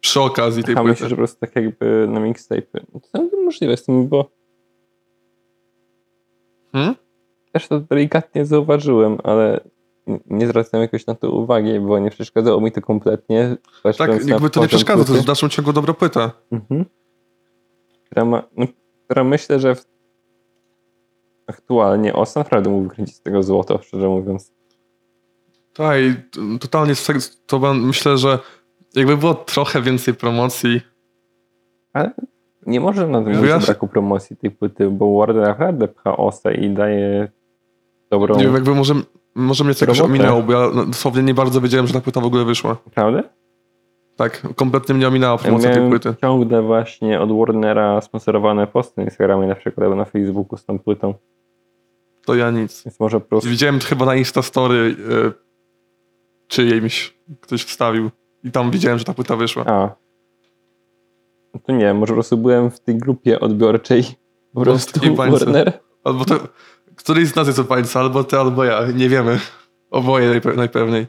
B: przy okazji tej
A: A
B: płyty.
A: myślę, że po prostu tak jakby na mixtape. To całkiem możliwe z tym, bo
B: Hmm?
A: też to delikatnie zauważyłem, ale n- nie zwracałem jakoś na to uwagi, bo nie przeszkadzało mi to kompletnie. patrząc
B: Tak,
A: na
B: jakby to nie
A: poziom
B: przeszkadza, to
A: płyty.
B: jest w dalszym ciągu dobra płyta.
A: Mhm. Która, ma, no, która myślę, że w... aktualnie OS naprawdę mógł wykręcić z tego złoto, szczerze mówiąc.
B: Tak, i t- totalnie z tego- to ben- myślę, że jakby było trochę więcej promocji.
A: Nie może na tym
B: Wyjaśn-
A: mówić braku promocji tej płyty, bo Warden naprawdę pcha OSA i daje dobrą...
B: Nie wiem, jakby może, może mnie to jakoś
A: Robotę.
B: ominęło, bo ja no, dosłownie nie bardzo wiedziałem, że ta płyta w ogóle wyszła.
A: Prawda?
B: Tak, kompletnie mnie ominęła
A: Ja
B: promocja tej
A: miałem
B: płyty.
A: ciągle właśnie od Warnera sponsorowane posty na Instagramie, na przykład albo na Facebooku z tą płytą,
B: To ja nic.
A: więc może po prostu
B: Widziałem chyba na Instastory y, czyjejś ktoś wstawił i tam widziałem, że ta płyta wyszła.
A: A. No To nie, może po prostu byłem w tej grupie odbiorczej. Po prostu
B: takiej bańce.
A: Warner.
B: Albo to, któryś z nas jest opańca, albo ty, albo ja. Nie wiemy. Oboje najpe- najpewniej.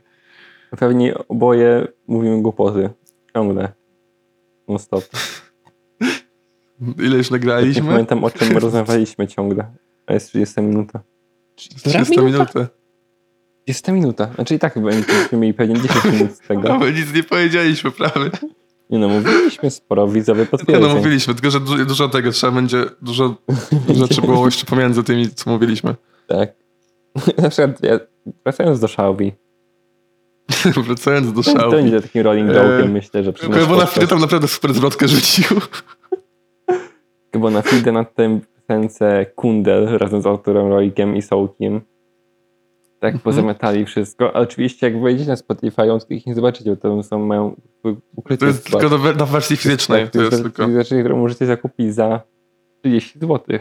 A: Pewnie oboje mówimy głupoty. Ciągle. No stop.
B: Ile już
A: Nie
B: nagraliśmy?
A: pamiętam o czym rozmawialiśmy ciągle. A jest 30 minuta.
B: 40 minuty.
A: 30 minuta. Znaczy i tak będziemy mieli pewnie 10 minut z
B: (laughs)
A: tego.
B: Prawie No, nic nie powiedzieliśmy, prawie.
A: Nie no, mówiliśmy sporo, widzowie
B: Nie no,
A: potwierdzą.
B: mówiliśmy, tylko że du- dużo tego trzeba będzie, dużo rzeczy było jeszcze pomiędzy tymi, co mówiliśmy. (laughs)
A: Tak. (laughs) Na przykład, ja, wracając do Xiaomi.
B: Wracając do
A: To
B: szału.
A: będzie takim rolling
B: Eee,
A: joke'iem, myślę, że przyniesie
B: Bo na
A: podcast.
B: chwilę tam naprawdę super zwrotkę rzucił.
A: bo na feedzie na tym piosence Kundel razem z autorem Roikiem i Sołkiem.
B: Mhm.
A: Tak pozamiatali wszystko. A oczywiście jak wejdziecie na Spotify, on ich nie zobaczycie, bo tam są mają u- ukryte
B: To jest
A: skład.
B: tylko na, we- na wersji fizycznej.
A: Tak,
B: To jest tylko
A: rzeczy, którą możecie zakupić za 30 zł.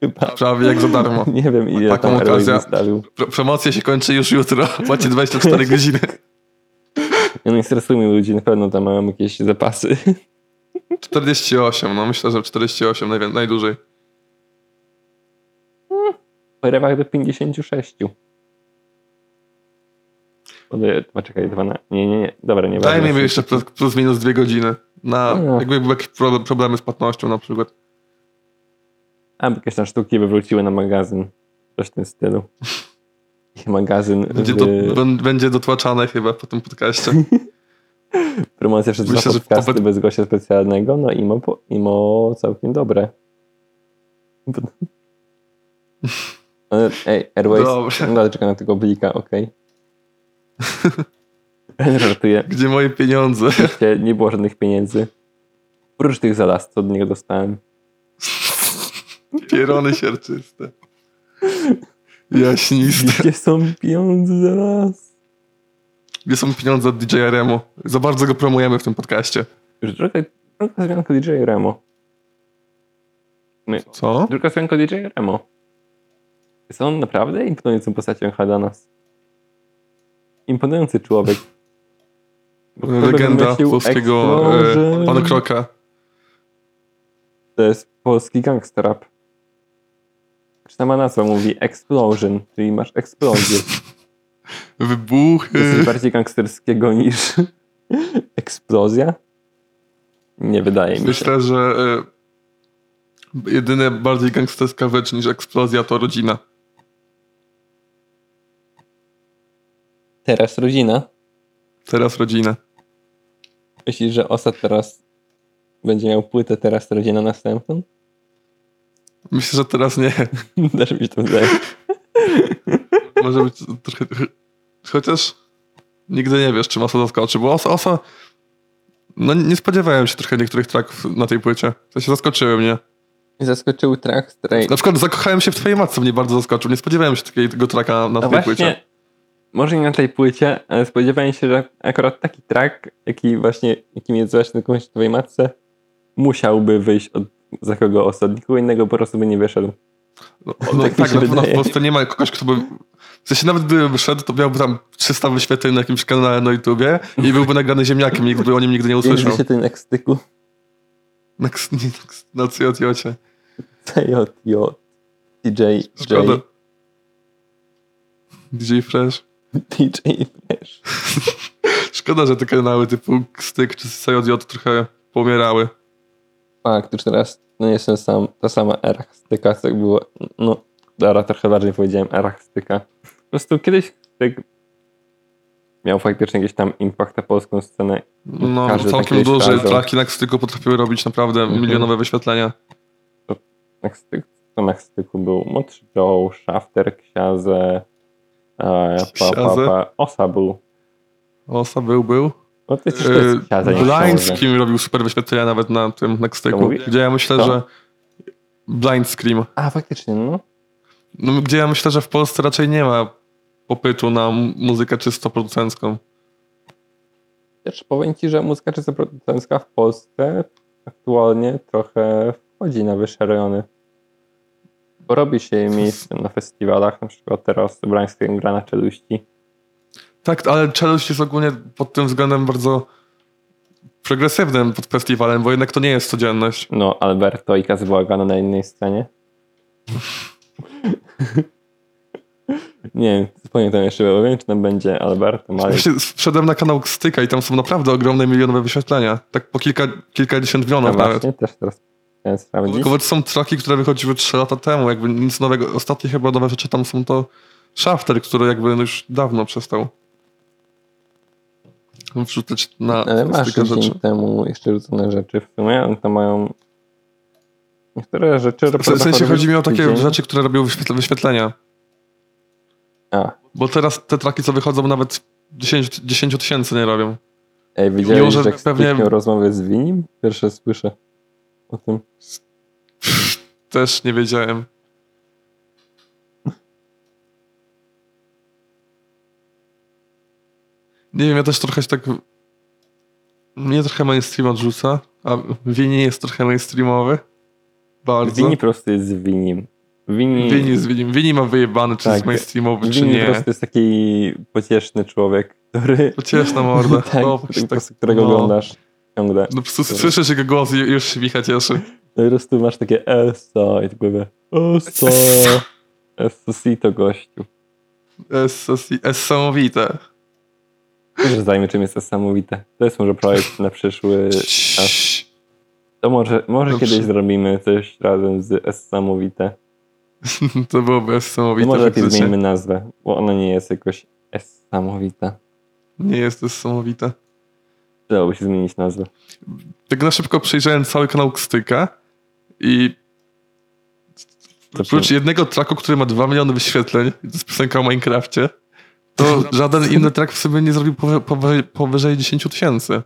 A: Chyba.
B: prawie jak za darmo.
A: (laughs) Nie wiem ile
B: Taką
A: tam Roy
B: okazję.
A: wystawił.
B: Pro- Promocja się kończy już jutro. (laughs) Płaci 24 godziny.
A: Ja nie stresujmy ludzi, na pewno tam mają jakieś zapasy.
B: 48, no myślę, że 48 najwię- najdłużej.
A: W rewach do 56. Podaję- A czekaj, 12. Nie, nie, nie. Dobra, nie ważne.
B: Dajmy mi jeszcze plus, plus minus dwie godziny. Na,
A: No.
B: jakby były jakieś pro- problemy z płatnością na przykład.
A: A, bo jakieś tam sztuki wywróciły na magazyn. Coś w tym stylu. (laughs) Ich magazyn
B: Będzie,
A: w
B: do, bę- będzie dotłaczane chyba po tym podcaście.
A: (laughs) promocja przez
B: myślę,
A: dwa
B: że to
A: podcasty
B: be-
A: bez gościa specjalnego. No imo, po- imo całkiem
B: (laughs)
A: dobre. Ale, Ej, Airways.
B: Dobrze.
A: No, ale czekaj na tego blika,
B: (laughs)
A: okej. Żartuję.
B: Gdzie moje pieniądze? (laughs)
A: Oczywiście nie było żadnych pieniędzy. Oprócz tych zaraz, co od niego dostałem.
B: Pierony sierczyste. Jaśniste.
A: Gdzie są pieniądze zaraz?
B: Gdzie są pieniądze od DJ Remo? Za bardzo go promujemy w tym podcaście.
A: Już droga, droga zmianka DJ Remo.
B: Co?
A: Druga piosenka DJ Remo. Jest on naprawdę imponującą postacią chyba dla nas. Imponujący człowiek. Bo kto by
B: Legenda
A: wymyślił
B: polskiego
A: Explosion?
B: e, pan Kroka.
A: To jest polski gangster rap. Sama nazwa mówi Explosion, czyli masz eksplozję. To jest
B: Wybuchy.
A: coś bardziej gangsterskiego niż (laughs) eksplozja? Nie wydaje mi się.
B: Myślę, że e, jedyne bardziej gangsterska rzecz niż eksplozja to rodzina.
A: Teraz rodzina.
B: Teraz rodzina.
A: Myślisz, że Osa teraz będzie miał płytę teraz rodzina następną? (laughs)
B: Myślę, że teraz nie.
A: Też mi się to wydaje.
B: Może być trochę... Chociaż nigdy nie wiesz, czy Osa zaskoczy, bo Osa, Osa No nie spodziewałem się trochę niektórych tracków na tej płycie. To się zaskoczyły mnie.
A: Zaskoczył track Stray.
B: Na przykład zakochałem się w twojej matce, mnie bardzo zaskoczył. Nie spodziewałem się takiego tracka na
A: No
B: tej płycie.
A: właśnie, może nie na tej płycie, ale spodziewałem się, że akurat taki track, jaki właśnie, jakim jest właśnie komuś twojej matce, musiałby wyjść od za kogo od nikogo innego po prostu by nie wyszedł.
B: No, no,
A: tak
B: tak,
A: mi się
B: na pewno w
A: wydaje.
B: Polsce nie ma kogoś, kto by... W sensie nawet gdyby wyszedł, to miałby tam 300 wyświetleń na jakimś kanale na YouTubie i byłby nagrany ziemniakiem, nikt by o nim nigdy nie usłyszał.
A: Jeździ się ten ekstyku.
B: Na, ks- nie, na, ks- na CJJ.
A: CJJ. DJ.
B: Szkoda. DJ Fresh.
A: DJ Fresh.
B: Szkoda, że te kanały typu Styk czy CJJ trochę pomierały.
A: Fakt, już teraz no nie jestem sam, ta sama era styka, co było, no dobra, trochę bardziej powiedziałem era styka. Po prostu kiedyś styk miał faktycznie jakiś tam impact na polską scenę
B: No,
A: Każdy
B: całkiem
A: taki
B: duże
A: szkandal.
B: traki na Styku potrafiły robić naprawdę
A: Mhm.
B: milionowe wyświetlenia.
A: Meksyk, co Meksyku był? Młodszy Joe, Shafter, Ksiaze, e, pa, pa,
B: Ksiaze?
A: pa, Osa był.
B: Osa był, był.
A: No ty jesteś
B: Yy,
A: yy, Ksiaze, nie
B: Blind
A: książę.
B: Scream robił super wyświetlenia nawet na tym na
A: To
B: Styku.
A: mówisz?
B: Gdzie ja myślę,
A: Co?
B: że... Blind Scream.
A: A, faktycznie, no.
B: No, gdzie ja myślę, że w Polsce raczej nie ma popytu na mu- muzykę czysto producencką.
A: Też powiem ci, że muzyka czysto producencka w Polsce aktualnie trochę wchodzi na wyższe rejony. Bo robi się jej miejsce na festiwalach, na przykład teraz Blind Scream gra na czeluści.
B: Tak, ale Czeluść jest ogólnie pod tym względem bardzo progresywnym pod festiwalem, bo jednak to nie jest codzienność.
A: No, Alberto i Kazbłagana na innej scenie. Nie wiem, zapomniałem tam jeszcze, bo wiem, czy tam będzie Alberto, Marek.
B: Właśnie wszedłem na kanał Styka i tam są naprawdę ogromne milionowe wyświetlenia. Tak po kilka, kilkadziesiąt
A: No
B: milionów nawet.
A: właśnie, no też teraz chciałem sprawdzić.
B: Tylko to są traki, które wychodziły 3 lata temu, jakby nic nowego. Ostatnie chyba nowe rzeczy tam są to Shafter, który jakby no już dawno przestał wrzucać na
A: Ale masz
B: Stykę rzeczy.
A: dzień temu jeszcze rzucone rzeczy w sumie, one tam mają... Niektóre rzeczy...
B: W se- w sensie chodzi mi o takie
A: tydzień.
B: rzeczy, które robiły wyświetl- wyświetlenia.
A: A,
B: Bo teraz te traki, co wychodzą, nawet 10 10 tysięcy nie robią.
A: ej, widziałeś,
B: Mimo, że
A: że
B: pewnie-
A: pewnie... miał rozmowę z Winim? Pierwsze słyszę o tym.
B: Też nie wiedziałem. Nie wiem, ja też trochę się tak... Mnie trochę mainstream odrzuca, a Wini jest trochę mainstreamowy. Bardzo.
A: Wini
B: Wini,
A: po prostu jest z Winim. Wini...
B: Wini z Winim. Wini ma wyjebane, czy
A: Tak.
B: jest mainstreamowy, czy
A: Winny po
B: nie.
A: prostu jest taki pocieszny człowiek, który...
B: Pocieszna
A: (laughs)
B: morda.
A: tak,
B: No,
A: tak, po
B: tak,
A: prostu, którego
B: no.
A: oglądasz ciągle.
B: No po prostu słyszysz jego głos i już się Micha cieszy.
A: No i po prostu masz takie ESO i tak mówię
B: (laughs)
A: ESO. ESO to gościu.
B: Esasi- Esamowite.
A: Też zajmie czym jest niesamowite. To jest może projekt na przyszły... czas. To może, może
B: Dobrze.
A: kiedyś zrobimy coś razem z niesamowite.
B: (laughs) To byłoby
A: No
B: esamowite.
A: może lepiej
B: faktycznie.
A: zmienimy nazwę, bo ona nie jest jakoś niesamowita.
B: Nie jest esamowite.
A: Dałoby się zmienić nazwę.
B: Tak na szybko przejrzałem cały kanał Kstyka i
A: Co
B: oprócz
A: przy-
B: jednego tracku, który ma 2 miliony wyświetleń, to jest piosenka o Minecrafcie, to żaden inny track w sobie nie zrobił powy- powy- powyżej 10 tysięcy.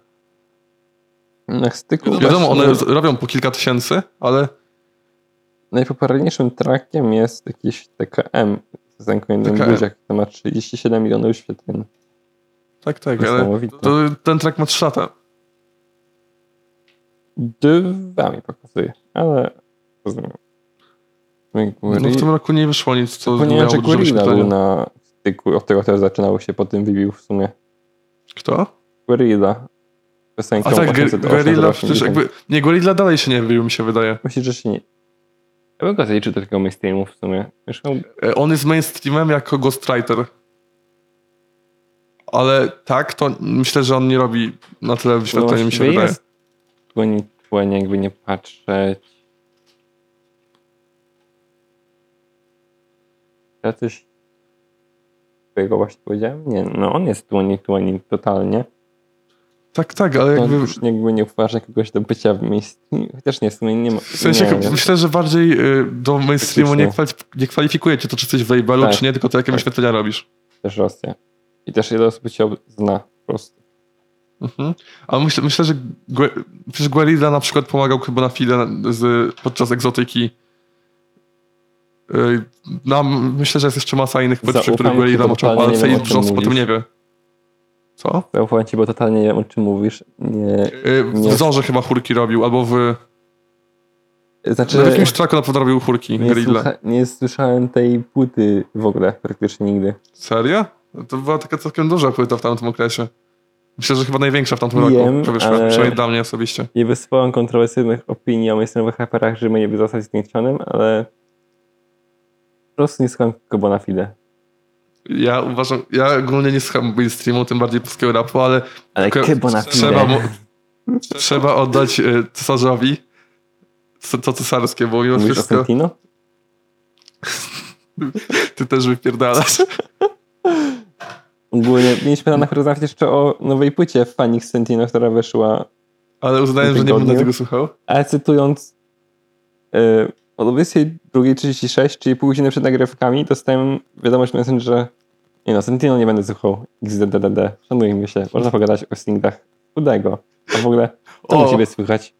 A: Na styku...
B: Wiadomo,
A: właśnie-
B: one z- robią po kilka tysięcy, ale
A: najpopularniejszym trackiem jest jakiś TKM z zakończonym
B: TKM.
A: buziak, który ma 37 milionów wyświetleń.
B: tak, tak, ale
A: Niesamowite.
B: to, ten track ma 3 lata.
A: Dwa mi pokazuje, ale rozumiem.
B: No, w tym roku nie wyszło nic, co
A: Ponieważ
B: miało dużo
A: Guerrilla znaczy był
B: wyświetleń.
A: na styku, od tego też zaczynało się, potem wybił w sumie.
B: Kto?
A: Guerrilla. Piosenka
B: A tak, Ger- Guerrilla przecież jakby... Nie, Guerrilla dalej się nie wybił, mi się wydaje.
A: Myślę, że się nie... Ja bym go zaliczył do takiego mainstreamu w sumie. Wiesz, no,
B: E, On jest mainstreamem jako ghostwriter. Ale tak, to myślę, że on nie robi na tyle wyświetlenia, mi się
A: właściwie
B: wydaje.
A: No, jest Płynie, płynie, jakby nie patrzeć. Ja coś twojego właśnie powiedziałem? Nie, no on jest tłoni, tłoni totalnie.
B: Tak, tak, ale
A: On
B: jakby...
A: już jakby nie uważa kogoś do bycia w mainstreamie. Chociaż nie, w sumie nie ma.
B: W sensie
A: nie,
B: jak-
A: wiem.
B: myślę, że bardziej y, do mainstreamu nie,
A: no. Faktycznie.
B: kwali- nie kwalifikuje cię to, czy coś w labelu,
A: Tak,
B: czy nie, tylko to, jakie
A: tak.
B: wyświetlenia robić. robisz.
A: też Rosja. I też wiele osób cię zna po prostu.
B: Mhm. Ale myślę, myślę, że Gue- przecież Guerrilla na przykład pomagał chyba na chwilę z, podczas egzotyki. Yy, No, m- myślę, że jest jeszcze masa innych płyt, o których
A: Zaufam
B: Guerrilla
A: ci,
B: moczał,
A: totalnie nie
B: ale
A: wiem,
B: Felix
A: o czym
B: Jones potem
A: mówisz.
B: nie wie. Co?
A: Zaufam ci, bo totalnie nie wiem, o czym mówisz. Nie.
B: Yy,
A: Nie.
B: W Zorze chyba chórki robił, albo w,
A: Znaczy,
B: w No, jakimś traku na pewno robił chórki
A: nie,
B: Guerrilla.
A: słucha, nie słyszałem tej płyty w ogóle praktycznie nigdy.
B: Serio? No To była taka całkiem duża płyta w tamtym okresie. Myślę, że chyba największa w tamtym
A: Wiem,
B: roku. Prawie,
A: ale-
B: Przynajmniej dla mnie osobiście.
A: Nie wysyłałem kontrowersyjnych opinii o miejscowych raperach, żeby nie zostać zniszczonym, ale po prostu nie słucham tylko bona fide.
B: Ja uważam, ja ogólnie nie słucham mainstreamu, tym bardziej polskiego rapu, ale
A: Ale
B: Tylko
A: ty bona fide.
B: trzeba, mu, trzeba oddać e, cesarzowi c- to cesarskie, bo mimo
A: Mówisz o
B: wszystko
A: Sentino?
B: ty też wypierdalasz.
A: Ogólnie mieliśmy na rozmawiać jeszcze o nowej płycie Fanix Sentino, która wyszła
B: Ale uznałem, że nie będę tego słuchał.
A: Ale cytując yy, o 22.36, czyli pół godziny przed nagrywkami, dostałem wiadomość na Messengerze nie no, Sentinel nie będę słuchał XDDDD, szanujmy się, można pogadać o singach chudego, a w ogóle co u
B: O,
A: ciebie słychać?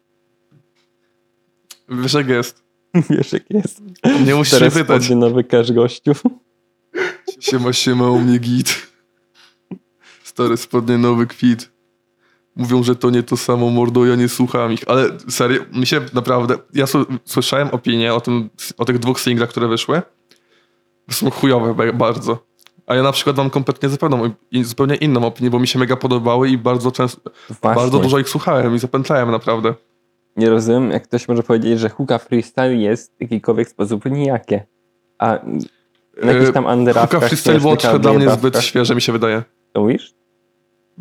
B: wiesz jak jest.
A: (laughs) Wiesz jak jest.
B: Nie musisz się
A: Teraz
B: pytać.
A: podnie nowy cash gościu.
B: Siema, siema, u mnie git. Stary spodnie, nowy kwit. Mówią, że to nie to samo, mordo, ja nie słucham ich. Ale serio, mi się naprawdę... Ja su- słyszałem opinię o, tym, o tych dwóch singlach, które wyszły. Są chujowe ba- bardzo. A ja na przykład mam kompletnie zupełną, i- zupełnie inną opinię, bo mi się mega podobały i bardzo często,
A: Właśnie.
B: bardzo dużo ich słuchałem i zapętlałem naprawdę.
A: Nie rozumiem, jak ktoś może powiedzieć, że huka freestyle jest w jakikolwiek sposób nijakie. A na jakichś tam
B: Yy, Huka
A: underawkach...
B: Freestyle było
A: śmiesznych
B: trochę dla mnie zbyt
A: underawkach,
B: świeże, mi się wydaje.
A: To mówisz?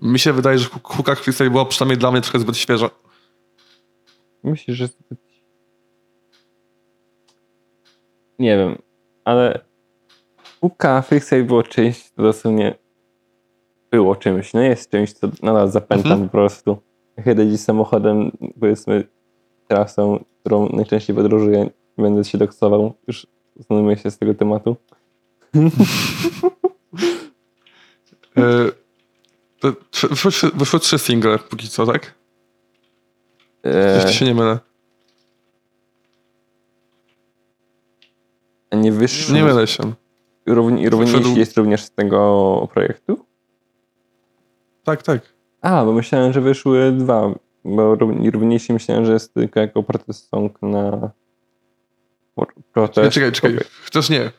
B: Mi się wydaje, że hu- Huka Freestyle była przynajmniej dla mnie trochę zbyt świeża.
A: Myślisz, że. zbyt- Nie wiem, ale. Puka Freestyle było czymś, co dosłownie było czymś. No jest czymś, co nadal zapętam
B: Mhm.
A: po prostu. Kiedy dziś samochodem, powiedzmy, trasą, którą najczęściej podróżuję, będę się doksował. Już znajmuję się z tego tematu.
B: E, to trzy- Wyszły, trzy- wyszły trzy single póki co, tak? Jeśli
A: Eee,
B: się nie mylę.
A: nie wyższy.
B: Nie mylę się.
A: Równi, równiejsi
B: Wyszedł-
A: jest również z tego projektu?
B: Tak, tak.
A: A, bo myślałem, że wyszły dwa. Bo równ- równiejsi myślałem, że jest tylko jako protest song na por-
B: Czekaj,
A: protest.
B: czekaj, czekaj. Chociaż nie.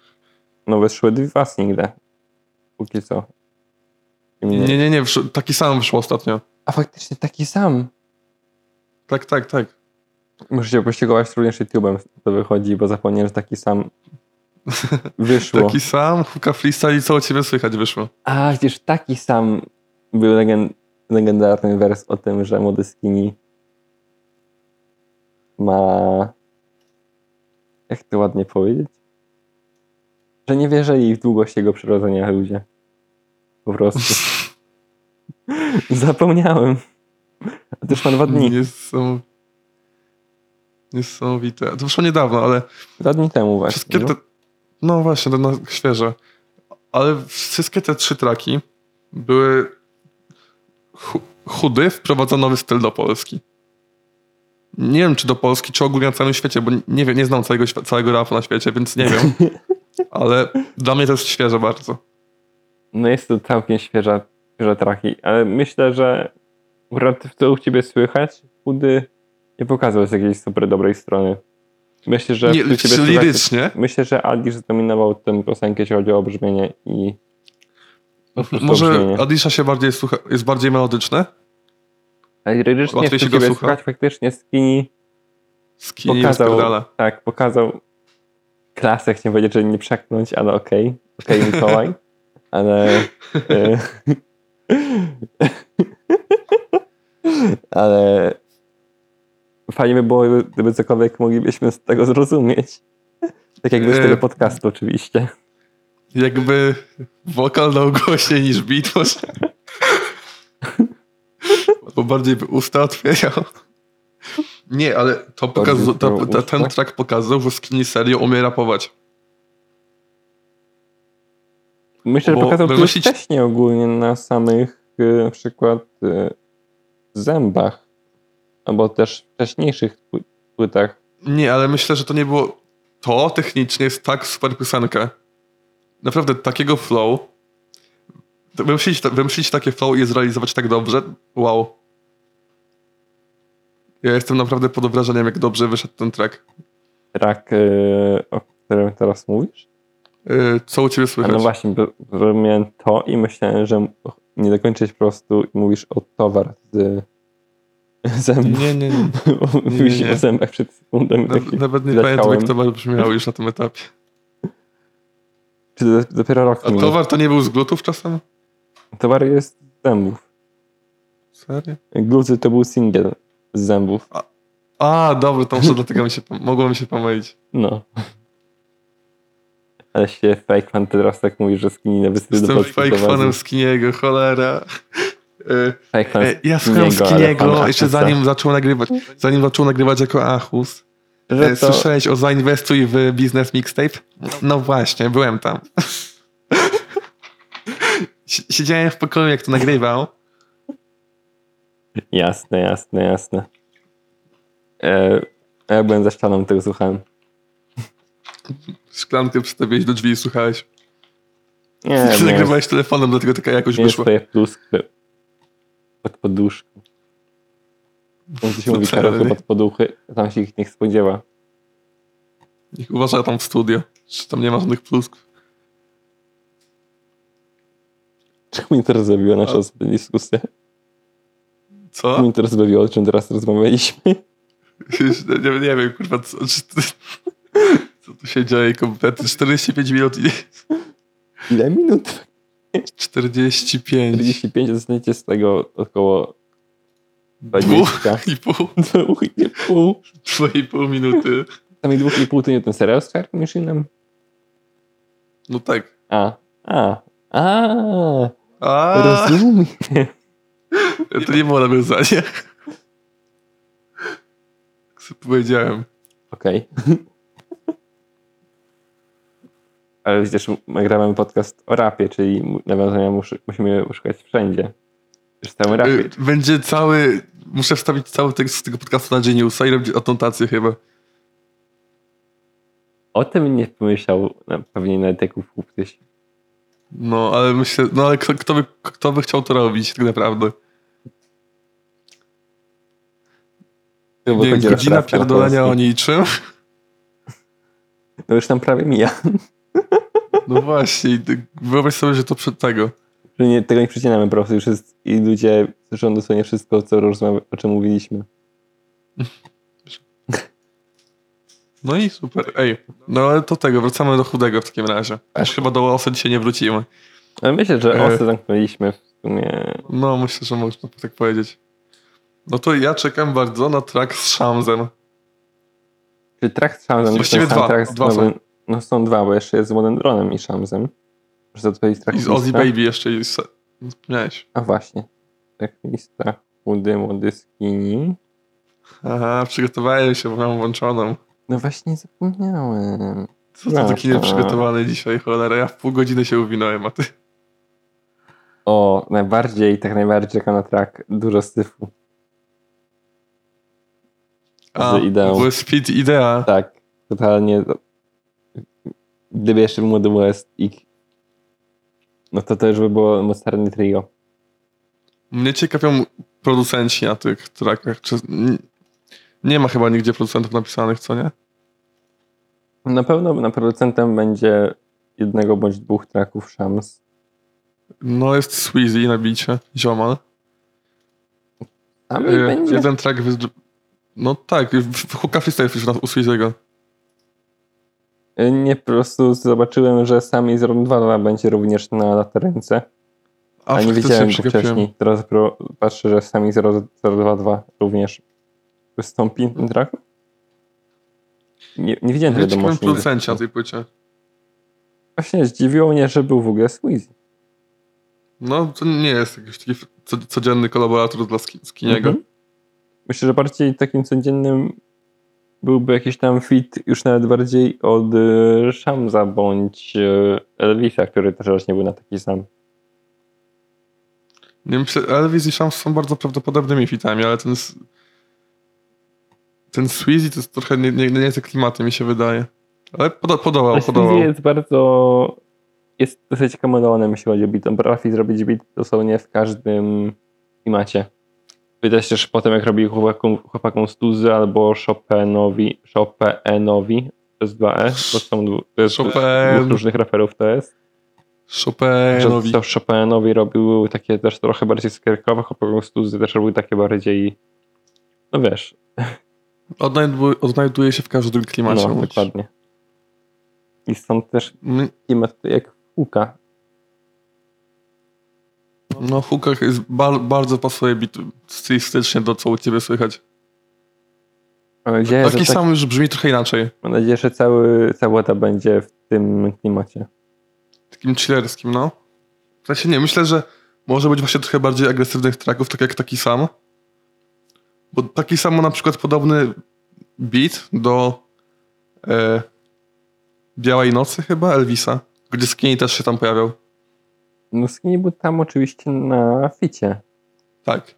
A: No wyszły dwa single. Póki co. I mnie-
B: Nie, nie, nie. Wyszło, taki sam wyszło ostatnio.
A: A faktycznie taki sam.
B: Tak, tak, tak.
A: Muszę się pościgować również YouTube'em, to wychodzi, bo zapomniałem, że taki
B: (laughs)
A: sam wyszło.
B: Taki sam, huka freestyle i co u ciebie słychać wyszło.
A: A, przecież taki sam był legen- legendarny wers o tym, że młody skinny ma... Jak to ładnie powiedzieć? Że nie wierzyli w długość jego przyrodzenia ludzie. Po prostu. Zapomniałem. A to już ma dwa dni.
B: Niesam... Niesamowite. To wyszło niedawno, ale
A: Dwa dni temu właśnie.
B: wszystkie te... No właśnie, to na świeże. Ale wszystkie te trzy traki były... Chu- Chudy wprowadza nowy styl do Polski. Nie wiem, czy do Polski, czy ogólnie na całym świecie, bo nie wiem, nie znam całego, świ- całego rapu na świecie, więc nie
A: (laughs)
B: wiem. Ale dla mnie to jest świeże bardzo.
A: No jest to całkiem świeża, świeża traki, ale myślę, że akurat w co u ciebie słychać, chudy nie pokazał z jakiejś super dobrej strony. Myślę, że w co
B: Nie,
A: ciebie
B: czy
A: słychać-
B: lirycznie,
A: Myślę, że Adisz zdominował tę piosenkę, jeśli chodzi o brzmienie i po prostu
B: może
A: brzmienie.
B: Adisha się bardziej słucha, jest bardziej melodyczne.
A: Ale Lirycznie w co
B: łatwiej się go
A: ciebie
B: słucha.
A: słychać faktycznie Skinny
B: Skinny
A: Pokazał.
B: rozpierdala.
A: tak pokazał klasę, chciałem powiedzieć, że nie przeknąć, ale okej. Okej
B: (laughs)
A: Mikołaj, ale... e, (laughs) ale fajnie by było, gdyby cokolwiek moglibyśmy z tego zrozumieć. Tak jakby z
B: E,
A: tego podcastu oczywiście.
B: Jakby wokal dał głośniej niż beat może. Bo bardziej by usta otwierał. Nie, ale to pokaz,
A: Bardziej
B: ta,
A: otwierał
B: ta, ten
A: usta?
B: track pokazał, że Skinny serio umie rapować.
A: Myślę, że
B: bo
A: pokazał to już
B: wymyślić-
A: wcześniej ogólnie na samych e, na przykład e, zębach, albo też wcześniejszych pły- płytach.
B: Nie, ale myślę, że to nie było. To technicznie jest tak super piosenka. Naprawdę takiego flow. To Wymyślić, ta- wymyślić takie flow i je zrealizować tak dobrze. Wow. Ja jestem naprawdę pod wrażeniem, jak dobrze wyszedł ten track.
A: Track, yy, o którym teraz mówisz?
B: Yy, co u ciebie
A: A
B: słychać?
A: no właśnie, bo- bo miałem to i myślałem, że m- nie dokończyć po prostu i mówisz o towar z (laughs) zębów. (laughs)
B: nie, nie, nie.
A: Bo
B: nie,
A: Mówiłeś
B: nie.
A: o zębach przed sekundą. i tak
B: Naw-
A: taki
B: (laughs) Nawet nie
A: zleciałem.
B: pamiętam, jak towar brzmiał już na tym etapie.
A: Czy to dopiero rok
B: A
A: minął?
B: towar to nie był z glutów czasem?
A: Towar jest z zębów.
B: Serio?
A: Gluzy to był singiel z zębów.
B: A, dobra, to może dlatego mi się, pom- mogło mi się pomylić.
A: No. Ale się fake fan teraz tak mówi, że skininę wystyd
B: Jestem fake fanem Skiniego, cholera. Y,
A: Fake fan
B: E, Ja słuchałem
A: Skiniego, ale fan
B: Skiniego jeszcze
A: Achesa.
B: zanim zaczął nagrywać, zanim zaczął nagrywać jako Achus.
A: Że
B: E,
A: No to-
B: Słyszałeś o Zainwestuj w Biznes Mixtape? No właśnie, byłem tam. (laughs) Si- Siedziałem w pokoju, jak to nagrywał.
A: Jasne, jasne, jasne. E, a ja byłem za ścianą, tego słuchałem.
B: Szklankę przystawiłeś do drzwi i słuchałeś.
A: (laughs) Nie,
B: Ty
A: nie,
B: nagrywałeś telefonem, dlatego taka jakość
A: nie
B: wyszła.
A: swoje pluskwy pod (laughs) poduszką. Jak to się mówi,
B: Wcale
A: karoty
B: nie.
A: pod poduchy, tam się ich nie spodziewa. (laughs)
B: Niech uważa tam w studio, czy tam nie ma żadnych pluskw.
A: Czemu mnie teraz zabiła nasza ostatnia dyskusja? Czemu
B: Co?
A: mnie teraz zabiło, o czym teraz rozmawialiśmy?
B: (laughs) Nie, nie wiem, kurwa, co, czy, (laughs) co tu się dzieje kompletnie. 45 minut i
A: (laughs)
B: (laughs)
A: Ile minut?
B: 45.
A: 45, dostaniecie z tego około
B: Dwóch
A: (laughs) 20.
B: i pół.
A: Dwóch i pół.
B: Dwa i pół minuty.
A: Sami dwóch i pół to nie ten serial z Harry Machinem?
B: No tak.
A: A, a, a,
B: A,
A: rozumiem.
B: to nie było nawiązanie. Tak sobie powiedziałem.
A: Okej. (laughs) Ale widzisz, my gramy podcast o rapie, czyli mu- nawiązania muszy, musimy szukać wszędzie. Już w całym rapie.
B: Y, Będzie cały... Muszę wstawić cały tekst z tego podcastu na Geniusa i robić anotację chyba.
A: O tym nie pomyślał na, pewnie nawet jako kuptyś.
B: No, ale myślę... No, ale kto, kto, by, kto by chciał to robić tak naprawdę?
A: Bo
B: Nie,
A: chodzi o
B: godzina
A: rapka na
B: pierdolenia o
A: polski.
B: niczym.
A: No już tam prawie mija. (laughs)
B: No właśnie. i ty- Wyobraź sobie, że to przed tego.
A: Że Nie, tego nie przecinamy po prostu. Już jest, I ludzie słyszą dosłownie wszystko, co rozmawia, o czym mówiliśmy.
B: No i super. Ej, no ale to tego. Wracamy do chudego w takim razie. Już chyba do Łosa dzisiaj nie wrócimy.
A: Ale myślę, że
B: E.
A: osy zamknęliśmy w sumie.
B: No, myślę, że można tak powiedzieć. No to ja czekam bardzo na track z Shamsem.
A: Czy track z Shamsem jest
B: Właściwie
A: ten sam
B: dwa,
A: track z
B: dwa są.
A: nowym- No są dwa, bo jeszcze jest z Modern Dronem i Shamsem. Muszę odpowiedzieć track
B: I z
A: lista.
B: Ozzy Baby jeszcze. i z- nie Wspomniałeś.
A: A właśnie. Track lista chudy, młody, skinny.
B: Aha, przygotowałem się, bo mam włączoną.
A: No właśnie zapomniałem.
B: Co to taki
A: Aha.
B: nieprzygotowany dzisiaj, cholera. Ja w pół godziny się uwinąłem, a ty...
A: O, najbardziej, tak najbardziej czekam na track Dużo Syfu.
B: A,
A: Z ideą.
B: bo Speed Idea.
A: Tak, totalnie. Gdyby jeszcze był Młody West i... No to to już by było mocarne trio.
B: Mnie ciekawią producenci na tych trackach. Czy... n- Nie ma chyba nigdzie producentów napisanych, co nie?
A: Na pewno na producentem będzie jednego bądź dwóch tracków Shams.
B: No jest Sweezy na bicie, ziomal.
A: A mi
B: Y,
A: będzie...
B: Jeden track... Wy... No tak, w- w- Hooka Freestyle już u Sweezy'ego.
A: Nie, po prostu zobaczyłem, że sami z Round 2 będzie również na latarynce.
B: A,
A: A nie
B: faktycznie
A: widziałem go
B: przegapiłem.
A: wcześniej. Teraz dopiero patrzę, że sami 022 również wystąpi na traku. Nie, nie widziałem
B: Ja
A: tego
B: ciekawym
A: wiadomości.
B: producencie na tej płycie.
A: Właśnie zdziwiło mnie, że był w ogóle Squeezy.
B: No, to nie jest jakiś taki co- codzienny kolaborator dla Ski- Skiniego.
A: Mhm. Myślę, że bardziej takim codziennym byłby jakiś tam fit już nawet bardziej od y, Shamza e, bądź y, Elvisa, który też właśnie był na taki sam.
B: Nie myślę, Elvis i Shams są bardzo prawdopodobnymi fitami, ale ten. s- Ten Sweezy to jest trochę nie, nie, nie jest klimaty, mi się wydaje. Ale podo, podobał, podobał.
A: Sweezy jest bardzo. Jest dosyć kameleonem, jeśli chodzi o beat. On potrafi zrobić beat dosłownie w każdym klimacie. Widać też potem, jak robił chłopakom, chłopakom Stuzy albo Chopinowi, Chopinowi przez 2E, E, bo są dwu, to jest
B: Chopin.
A: dwóch różnych raperów to jest.
B: Chopinowi.
A: To Chopinowi robił takie też trochę bardziej skierkowe, chłopakom Stuzy też robił takie bardziej, no wiesz,
B: Odnajdu, odnajduje się w każdym klimacie.
A: no
B: mówisz.
A: dokładnie. I stąd też
B: Mm,
A: klimat jak Łuka,
B: No, Hukach jest bar, bardzo pasuje bit stylistycznie do co u ciebie słychać.
A: Mam nadzieję,
B: Taki
A: że tak,
B: sam już brzmi trochę inaczej.
A: mam nadzieję, że cały, cała ta będzie w tym klimacie.
B: Takim chillerskim, no. W sensie nie, myślę, że może być właśnie trochę bardziej agresywnych tracków, tak jak taki sam. Bo taki sam ma na przykład podobny beat do e, Białej Nocy chyba, Elvisa, gdzie Skinny też się tam pojawiał.
A: No Skinny był tam oczywiście na ficie.
B: Tak.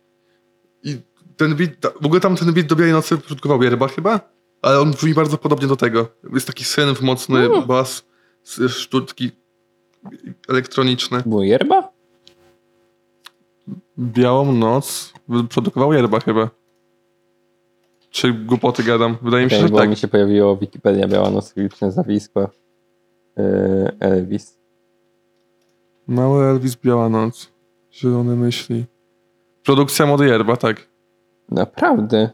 B: I ten beat, ta- w ogóle tam ten beat do Białej Nocy produkował Jerba chyba, ale on brzmi bardzo podobnie do tego. Jest taki synf mocny, bas, s- sztuczki elektroniczne.
A: Było Jerba?
B: Białą Noc produkował Jerba chyba. Czy głupoty gadam? Wydaje mi się,
A: Okej,
B: że
A: bo
B: tak.
A: mi się pojawiło Wikipedia Biała Noc, liczne zawisko. Yy, Elvis.
B: Mały Elvis, Biała Noc. Zielone myśli. Produkcja mody Jerba, tak.
A: Naprawdę?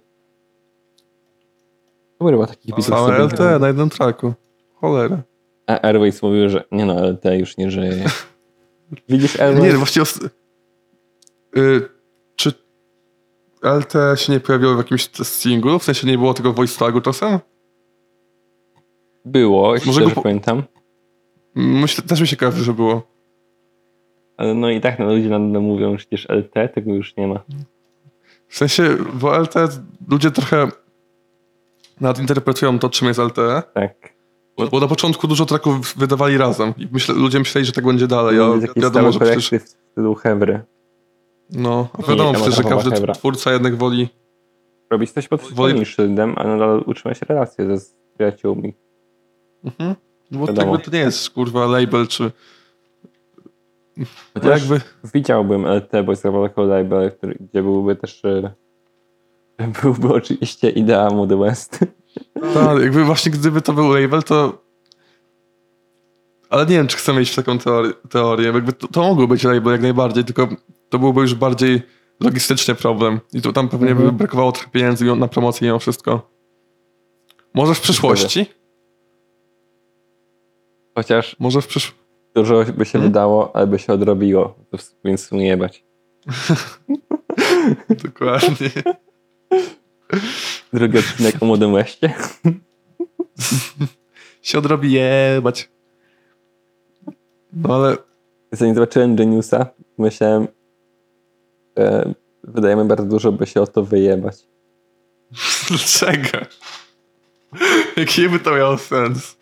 A: To chyba takich bitów
B: Całe
A: sobie
B: LT na jednym traku. Cholera.
A: A Airways mówił, że nie no, LT już nie
B: (laughs)
A: żyje. Widzisz
B: Nie,
A: Airways?
B: właściwie. os- Y, czy LT się nie pojawiło w jakimś t- singlu? W sensie nie było tego voice tagu czasem?
A: Było, jeśli
B: Może go
A: dobrze
B: po-
A: pamiętam.
B: Myślę, też mi się kojarzy, że było.
A: Ale no i tak no, ludzie nadal mówią, że przecież LT tego już nie ma.
B: W sensie w LT ludzie trochę nadinterpretują to, czym jest LT.
A: Tak.
B: Bo, bo na początku dużo traków wydawali razem i myślę, ludzie myśleli, że tak będzie dalej.
A: To
B: A
A: jest taki
B: wiadomo,
A: stały
B: że przecież,
A: kolektyw w stylu Hewry.
B: no, a
A: Nie,
B: wiadomo
A: tam
B: przecież, że
A: Adama
B: każdy
A: Hebra.
B: twórca jednak woli
A: Robić coś pod
B: Woli-
A: swoim szyldem, a nadal utrzymać relacje ze z przyjaciółmi.
B: Mhm. Bo
A: Wiadomo.
B: jakby to nie jest kurwa label, czy.
A: Chociaż-
B: Jakby.
A: Widziałbym E LT, bo jest chyba taką label, który- gdzie byłby też e, (laughs) byłby oczywiście idea Mody West. (laughs)
B: Tak, jakby właśnie gdyby to był label, to... Ale nie wiem, czy chcemy iść w taką teori- teorię. Jakby to, to mogło być label jak najbardziej, tylko to byłby już bardziej logistyczny problem. I to tam pewnie by
A: Mhm.
B: brakowało trochę pieniędzy mimo- na promocję mimo wszystko. Może w przyszłości?
A: Chociaż
B: Może w przyszłości.
A: dużo by się
B: Hmm?
A: wydało, ale by się odrobiło, to w- więc tu nie bać.
B: (laughs) Dokładnie.
A: Drugi odcinek o Młodym Westie. (laughs)
B: Się odrobi jebać. No ale (laughs)
A: Zanim zobaczyłem Geniusa, myślałem, że wydajemy bardzo dużo, by się o to wyjebać.
B: dlaczego? Jaki by to miało sens?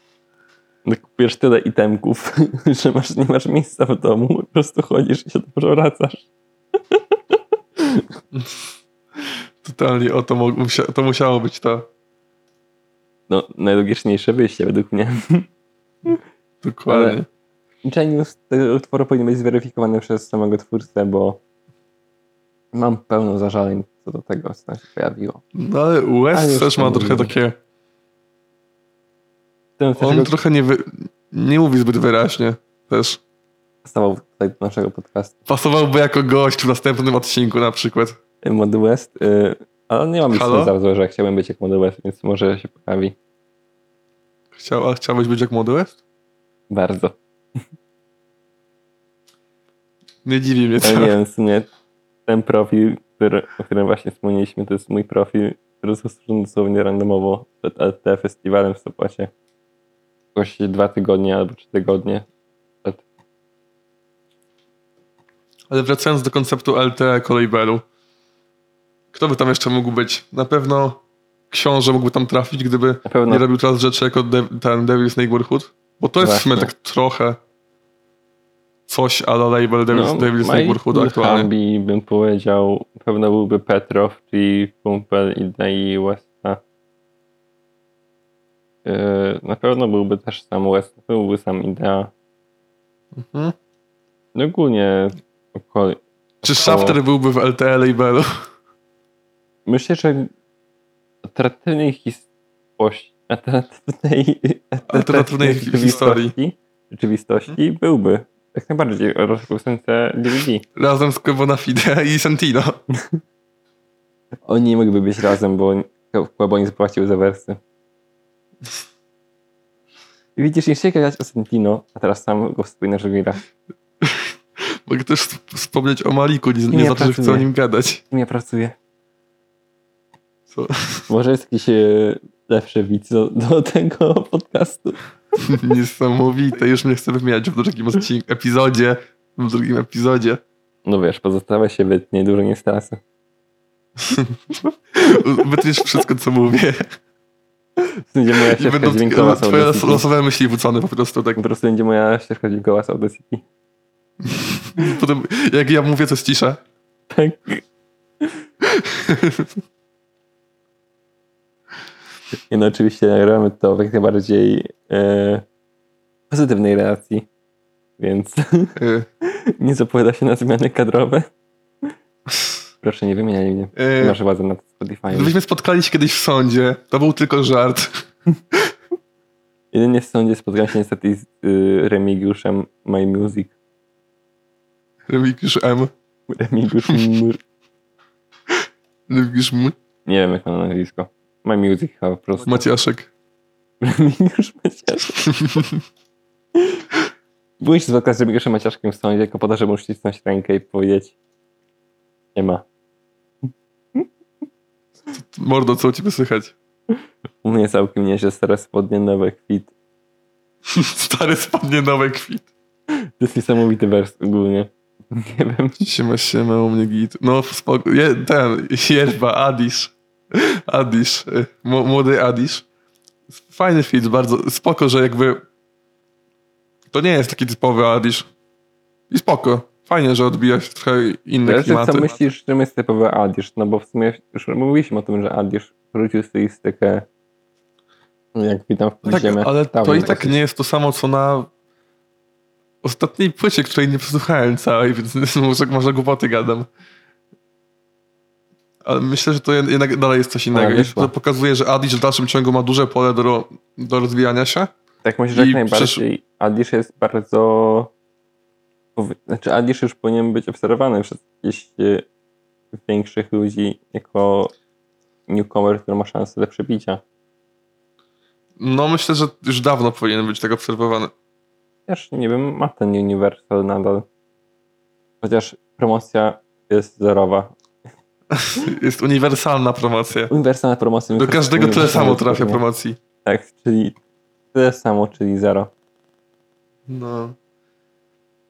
A: No, kupujesz tyle itemków, (laughs) że masz, nie masz miejsca w domu, po prostu chodzisz i się dobrze wracasz.
B: Totalnie, o to, mo- musia- to musiało być to.
A: No, najlogiczniejsze wyjście według mnie.
B: Dokładnie.
A: Ale- Genius tego utworu powinien być zweryfikowany przez samego twórcę, bo mam pełno zażaleń co do tego, co tam się pojawiło.
B: No ale
A: A
B: West
A: już
B: też
A: to
B: ma
A: mówiłem.
B: trochę takie...
A: Ten też
B: On
A: go
B: trochę nie, wy, nie mówi zbyt wyraźnie też.
A: pasował tutaj do naszego podcastu
B: Pasowałby jako gość w następnym odcinku na przykład.
A: Mody West, y, ale nie mam nic
B: Halo?
A: za złe, że chciałbym być jak Mody West, więc może się pojawi
B: Chciał, a chciałbyś być jak młody West?
A: bardzo.
B: Nie dziwi mnie
A: (laughs)
B: to.
A: Ale nie wiem, w sumie ten profil, który, o którym właśnie wspomnieliśmy, to jest mój profil, który został dosłownie randomowo przed LT festiwalem w Sopocie. Jakoś dwa tygodnie albo trzy tygodnie.
B: Ale wracając do konceptu LT jako labelu. Kto by tam jeszcze mógł być? Na pewno książę mógłby tam trafić, gdyby
A: Na pewno
B: nie robił teraz rzeczy jako de, ten Devil's Neighborhood. Bo to jest w sumie
A: Właśnie.
B: tak trochę... coś a la label Devil's, Devil's
A: no, Mike
B: Neighborhood aktualnie.
A: Hambi bym powiedział, na pewno byłby Petrow, czyli Kumpel i Dai Westa. Yy, Na pewno byłby też sam West, na pewno byłby sam Idea.
B: Mhm.
A: No ogólnie okoli-
B: Czy Shafter byłby w LTE labelu?
A: myślę, że alternatywnej historii alternatywnej,
B: Alternatywnej historii.
A: rzeczywistości byłby. Jak najbardziej rozpustęce DVD.
B: (laughs) Razem z Kevona Fide i Sentino.
A: Oni nie mogliby być razem, bo Kłaboni zapłacił za wersy. I Widzisz, nie chciałem gadać o Sentino, a teraz sam go wspominasz w grach.
B: Mogę też sp- wspomnieć o Maliku, nie, nie,
A: Nie
B: znaczy, że chcę o
A: pracuję.
B: nim gadać.
A: Z kim ja pracuję?
B: Co? (laughs)
A: Może jest jakiś e, lepszy widz do, do tego podcastu.
B: Niesamowite, już mnie chcę wymieniać w drugim odcinku, epizodzie. W drugim epizodzie.
A: No wiesz, pozostałe się wytnie, dużo nie stracę.
B: Wytniesz wszystko, co mówię.
A: Będzie moja
B: I
A: ścieżka
B: będą
A: dźwiękowa z
B: twoje
A: Audio
B: los,
A: City.
B: losowe myśli wrzucone po prostu tak.
A: Po prostu będzie moja ścieżka dźwiękowa z Audio City.
B: Potem jak ja mówię, to cisza. (laughs)
A: Tak. Nie no, oczywiście nagramy to w jak najbardziej e, pozytywnej relacji, więc
B: E,
A: nie zapowiada się na zmiany kadrowe. Proszę, nie wymieniaj mnie.
B: E,
A: Masz władzę nad Spotify.
B: Gdybyśmy spotkali się kiedyś w sądzie, to był tylko żart.
A: Jedynie w sądzie spotkałem się niestety z y, Remigiuszem My Music.
B: Remigiusz M.
A: Remigiusz Mur.
B: Remigiusz M.
A: Nie wiem, jak ma na nazwisko. My Music chyba po prostu.
B: Maciaszek.
A: Remigiusz Maciaszek. Byłeś zwykle z Remigiuszem Maciaszkiem w sądzie, tylko po to, żeby mu ścisnąć rękę i powiedzieć nie ma.
B: Mordo, co u ciebie słychać? (laughs)
A: U mnie całkiem nieźle stare spodnie, nowe kwit.
B: Stary spadnie nowy kwit.
A: To jest niesamowity wers ogólnie. Nie wiem.
B: Siema, siema, u mnie git. No, spoko. Je, ten, Jerba, Adisz. Adisz. y, m- Młody Adisz. Fajny fit, bardzo spoko, że jakby... To nie jest taki typowy Adisz. I spoko. Fajnie, że odbija się trochę inne
A: Zależy, co
B: klimaty.
A: myślisz, czym jest typowy Adisz? No bo w sumie już mówiliśmy o tym, że Adisz wrócił stylistykę jak witam w
B: Tak,
A: podziemiach.
B: ale to
A: Dawno
B: i tak
A: dosyć.
B: nie jest to samo, co na ostatniej płycie, której nie przesłuchałem całej, więc (laughs) może, może głupoty gadam. Ale myślę, że to jed- jednak dalej jest coś innego. I
A: wyszła.
B: to pokazuje, że Adish w dalszym ciągu ma duże pole do, ro- do rozwijania się.
A: Tak myślę, że
B: I
A: jak najbardziej Adish jest bardzo... powi- Znaczy Adish już powinien być obserwowany przez jakichś e, większych ludzi jako newcomer, który ma szansę do przebicia.
B: No myślę, że już dawno powinien być tak obserwowany. (laughs)
A: Też nie wiem, ma ten Universal nadal. Chociaż promocja jest zerowa.
B: Jest uniwersalna promocja.
A: Uniwersalna promocja...
B: Do każdego tyle samo trafia
A: promocja.
B: promocji.
A: Tak, czyli tyle samo, czyli zero.
B: No.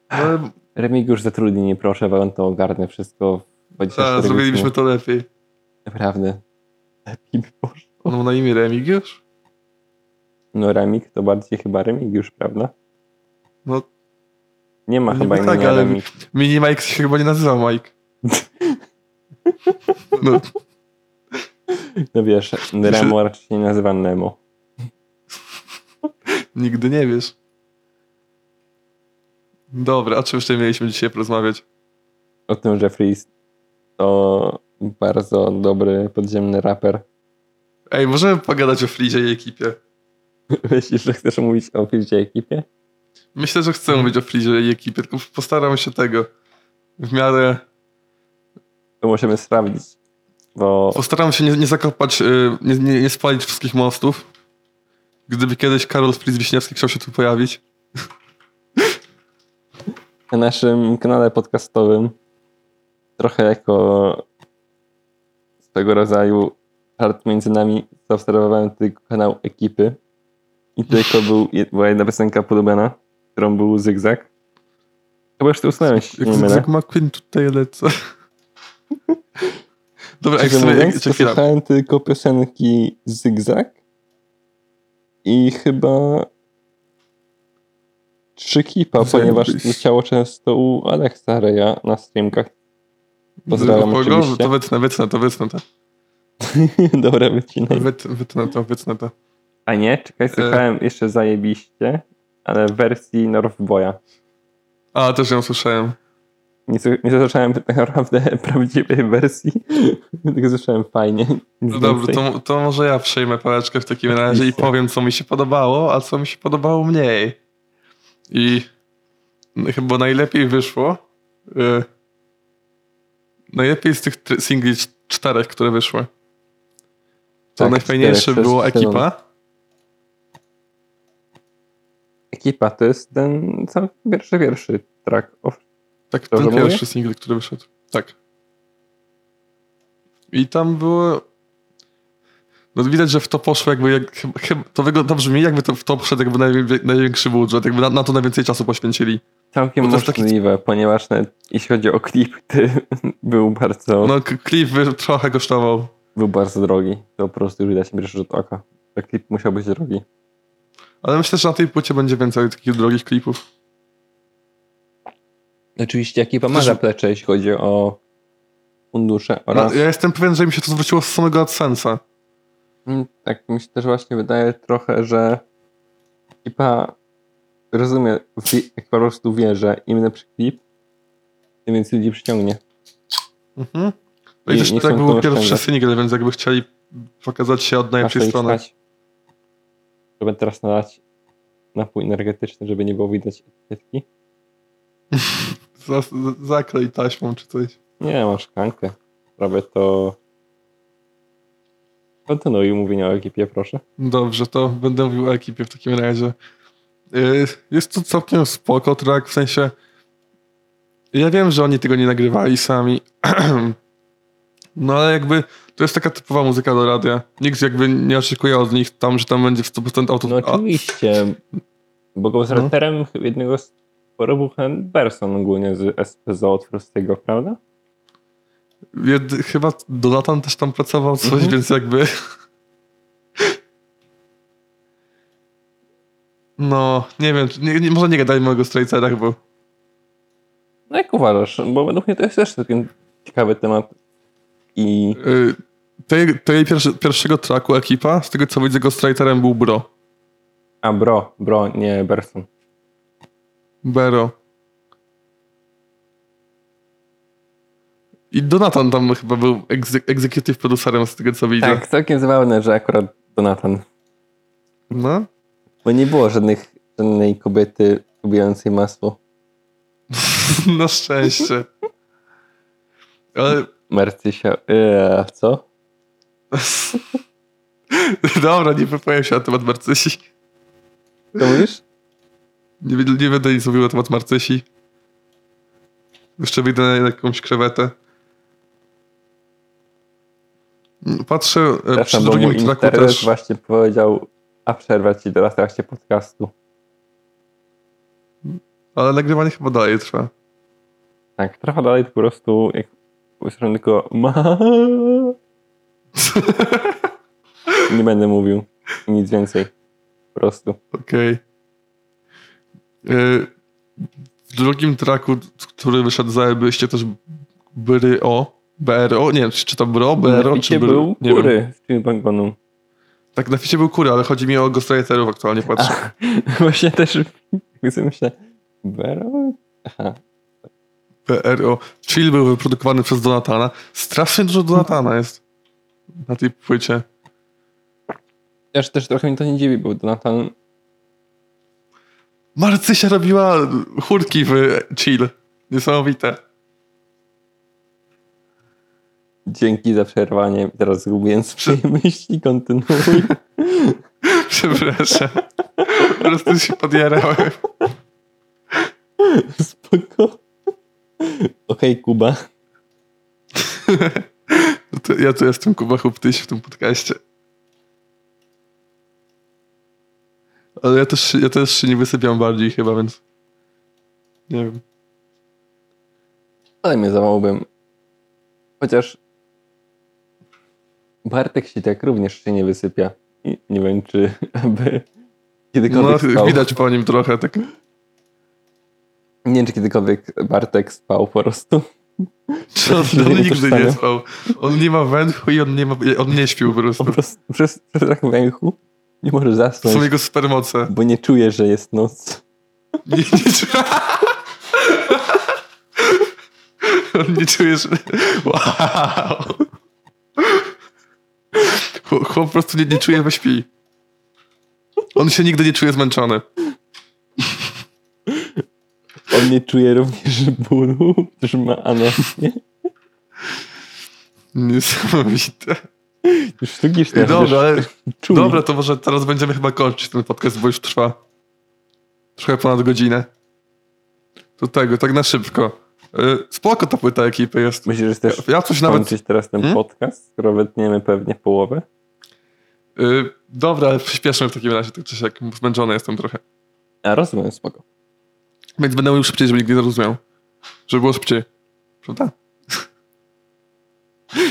B: Ale
A: Remigiusz zatrudni mnie, proszę, bo on to ogarnie wszystko w 24
B: a,
A: godziny.
B: Tak, zrobiliśmy to lepiej.
A: Naprawdę. Lepiej by poszło.
B: On ma na imię Remigiusz?
A: No Remik to bardziej chyba Remigiusz, prawda?
B: No
A: Nie ma
B: No
A: chyba
B: tak,
A: imienia
B: ale-
A: Remik.
B: Mini Mike się chyba nie nazywa Mike. No,
A: No wiesz, Remo raczej się nie nazywa Nemo.
B: nigdy nie wiesz. Dobra, o czym jeszcze mieliśmy dzisiaj porozmawiać?
A: O tym, że Freeze to bardzo dobry podziemny raper. (laughs)
B: Ej, możemy pogadać o Frizie i ekipie.
A: Myślisz, że chcesz mówić o Freeze ekipie?
B: Myślę, że chcę mówić o Frizie i ekipie, tylko postaram się tego w miarę...
A: To możemy sprawdzić. Bo
B: Postaram się nie, nie zakopać, y, nie, nie, nie spalić wszystkich mostów. Gdyby kiedyś Karol Fritz Wiśniewski chciał się tu pojawić.
A: na naszym kanale podcastowym trochę jako swego rodzaju żart między nami zaobserwowałem tylko kanał ekipy i tylko był, jed- była jedna piosenka podobana, którą był Zygzak. Chyba już to usunąłeś, nie
B: Jak
A: mylę.
B: Zygzak McQueen tutaj lecę. (laughs) Dobra, jak
A: Szczerze
B: sobie... Jak,
A: mówiąc, to
B: czekaj, chwila.
A: słuchałem tylko piosenki Zygzak i chyba trzy kipa,
B: Zajebiście.
A: ponieważ leciało często u Aleksa Reja na streamkach. Pozdrawiam
B: Tylko pogorzę,
A: oczywiście.
B: To wytnę, wytnę to, wytnę
A: (laughs)
B: to.
A: Dobra, wycinaj.
B: Wyt, wytnę to, wytnę to.
A: A nie, czekaj, słuchałem jeszcze zajebiście, ale w wersji North Boya.
B: A, też ją słyszałem.
A: Nie, sły- nie słyszałem tak (laughs) naprawdę prawdziwej wersji, (laughs) tylko słyszałem fajnie. Nic
B: No dobrze,
A: więcej.
B: to, to może ja przejmę pałeczkę w takim razie i
A: Oczywiście.
B: powiem, co mi się podobało, a co mi się podobało mniej. I chyba najlepiej wyszło. y, najlepiej z tych tr- singli cz- czterech, które wyszły. To
A: Tak,
B: najfajniejsze
A: czterech,
B: było
A: to jest zielone.
B: ekipa.
A: Ekipa to jest ten sam pierwszy, pierwszy track. Of...
B: Tak,
A: Dobrze
B: ten
A: mówię?
B: pierwszy single, który wyszedł. Tak. I tam było... No widać, że w to poszło jakby... Jak, chyba- chyba, to wygląda, brzmi jakby to w to poszedł jakby najwie- największy budżet, jakby na, na to najwięcej czasu poświęcili.
A: Całkiem
B: Bo to jest taki-
A: możliwe, ponieważ nawet jeśli chodzi o klip, to (laughs) był bardzo,
B: No k- klip wy- trochę kosztował.
A: był bardzo drogi. To po prostu widać mi rzut oka. To klip musiał być drogi.
B: Ale myślę, że na tej płycie będzie więcej takich drogich klipów.
A: Oczywiście ekipa ma
B: Też-
A: zaplecze, jeśli chodzi o fundusze
B: No,
A: oraz...
B: ja jestem pewien, że mi się to zwróciło z samego AdSense'a.
A: Mm, Tak mi się też właśnie wydaje trochę, że ekipa rozumie, wi- jak po prostu wie, że im lepszy klip, tym więcej ludzi przyciągnie.
B: Mhm. No i,
A: I
B: też
A: nie
B: tak
A: chcą
B: był
A: tu
B: pierwszy
A: oszczędzać.
B: single, więc jakby chcieli pokazać się od
A: Aż
B: najlepszej
A: ich
B: strony.
A: stać. Żeby teraz nalać napój energetyczny, żeby nie było widać etykietki.
B: Za- za- Zaklej taśmą czy coś.
A: Nie, masz szklankę. Robię to... Kontynuuj mówienie o ekipie, proszę.
B: Dobrze, to będę mówił o ekipie w takim razie. Yy, Jest to całkiem spoko track, w sensie ja wiem, że oni tego nie nagrywali sami, (clears throat) no ale jakby to jest taka typowa muzyka do radia. Nikt jakby nie oczekuje od nich tam, że tam będzie w 100% auto...
A: No oczywiście. Bo ghostwriterem jednego z tworów był Henderson ogólnie z SPZ od prostego, prawda?
B: a, jed, chyba Donatan też tam pracował coś,
A: Mhm.
B: więc jakby... (laughs) No, nie wiem, czy- nie, nie, może nie gadajmy o Ghostwriterach, bo
A: No jak uważasz? Bo według mnie to jest też taki ciekawy temat. I
B: Y, Tej, tej pierwszy, pierwszego traku ekipa, z tego co widzę, ghostwriterem był Bro.
A: a bro, bro, nie Berson.
B: Bero. I Donatan tam chyba był egze- executive producerem, z tego co widzę.
A: Tak, całkiem zabawne, że akurat Donatan.
B: No. (laughs)
A: Bo nie było żadnych, żadnej kobiety lubiącej masło.
B: Na szczęście. Ale... (laughs)
A: Marcysia, eee, co?
B: Dobra, nie wypowiem się na temat Marcysi.
A: Co mówisz?
B: Nie, będę- nie będę nic mówił na temat Marcysi. Jeszcze wyjdę na jakąś krewetę. Mm, Patrzę e, przy
A: Przepraszam, bo mój
B: drugim traku
A: internet
B: też.
A: właśnie powiedział, a przerwę ci teraz w trakcie podcastu.
B: Ale nagrywanie chyba dalej trwa.
A: Tak, trochę dalej to po prostu jak usłyszałem tylko ma. (laughs) Nie będę mówił nic więcej. Po prostu.
B: Okej. E, W drugim traku, który wyszedł zajebyście też Bryro. BRO? Nie wiem, czy czyta Bro, BRO,
A: Na
B: czy
A: ficie
B: Bry...
A: był
B: nie wiem.
A: kury w tym pangonu.
B: Tak, na ficie był kury, ale chodzi mi o ghostwriterów aktualnie patrzę.
A: (laughs) Właśnie też tak sobie myślę. Bero? Aha.
B: BRO. Chill był wyprodukowany przez Donatana. Strasznie dużo Donatana jest na tej płycie.
A: Też, też trochę mi to nie dziwi, bo Donatan
B: Marcysia robiła chórki w Chill. Niesamowite. (laughs)
A: dzięki za przerwanie. Teraz zgubiłem swoje (laughs) myśli, kontynuuj.
B: Przepraszam. Po prostu się podjarałem.
A: (laughs) Spoko. Okej, Kuba.
B: No to Ja tu jestem Kuba Huptyś w tym podcaście. Ale ja też, ja też się nie wysypiam bardziej chyba, więc... Nie wiem.
A: Ale mnie zawałbym. Chociaż Bartek się tak również się nie wysypia. I nie wiem, czy aby kiedykolwiek
B: No,
A: spał.
B: widać po nim trochę tak.
A: Nie wiem, czy kiedykolwiek Bartek spał po prostu.
B: Czy on,
A: Przecież
B: on
A: nie
B: nigdy nie
A: powstanie.
B: spał. On nie ma węchu i on nie, ma, on nie śpił po prostu.
A: Po prostu przez, przez brak węchu nie może
B: To są
A: zasnąć,
B: jego supermoce.
A: bo nie czuje, że jest noc.
B: Nie, nie, czu- (laughs) on nie czuje, że... Wow. Chłop- Chłop po prostu nie, nie czuje, we śpi. On się nigdy nie czuje zmęczony.
A: On nie czuje również bólu, też ma anosmię.
B: Niesamowite.
A: Sztuki
B: I
A: sztuki
B: dobra, ale-
A: czuje.
B: dobra, to może teraz będziemy chyba kończyć ten podcast, bo już trwa trochę ponad godzinę. Do tego, tak na szybko. Y, Spoko ta płyta ekipy jest.
A: Myślisz, że chcesz
B: Ja coś nawet...
A: kończyć teraz ten
B: Hmm?
A: podcast, skoro wytniemy pewnie połowę?
B: y, Dobra, ale przyspieszmy w takim razie, tak czy siak, zmęczony jestem trochę.
A: A rozumiem, spoko.
B: Więc będę mówił szybciej, żeby nikt nie zrozumiał. Żeby było szybciej. Prawda?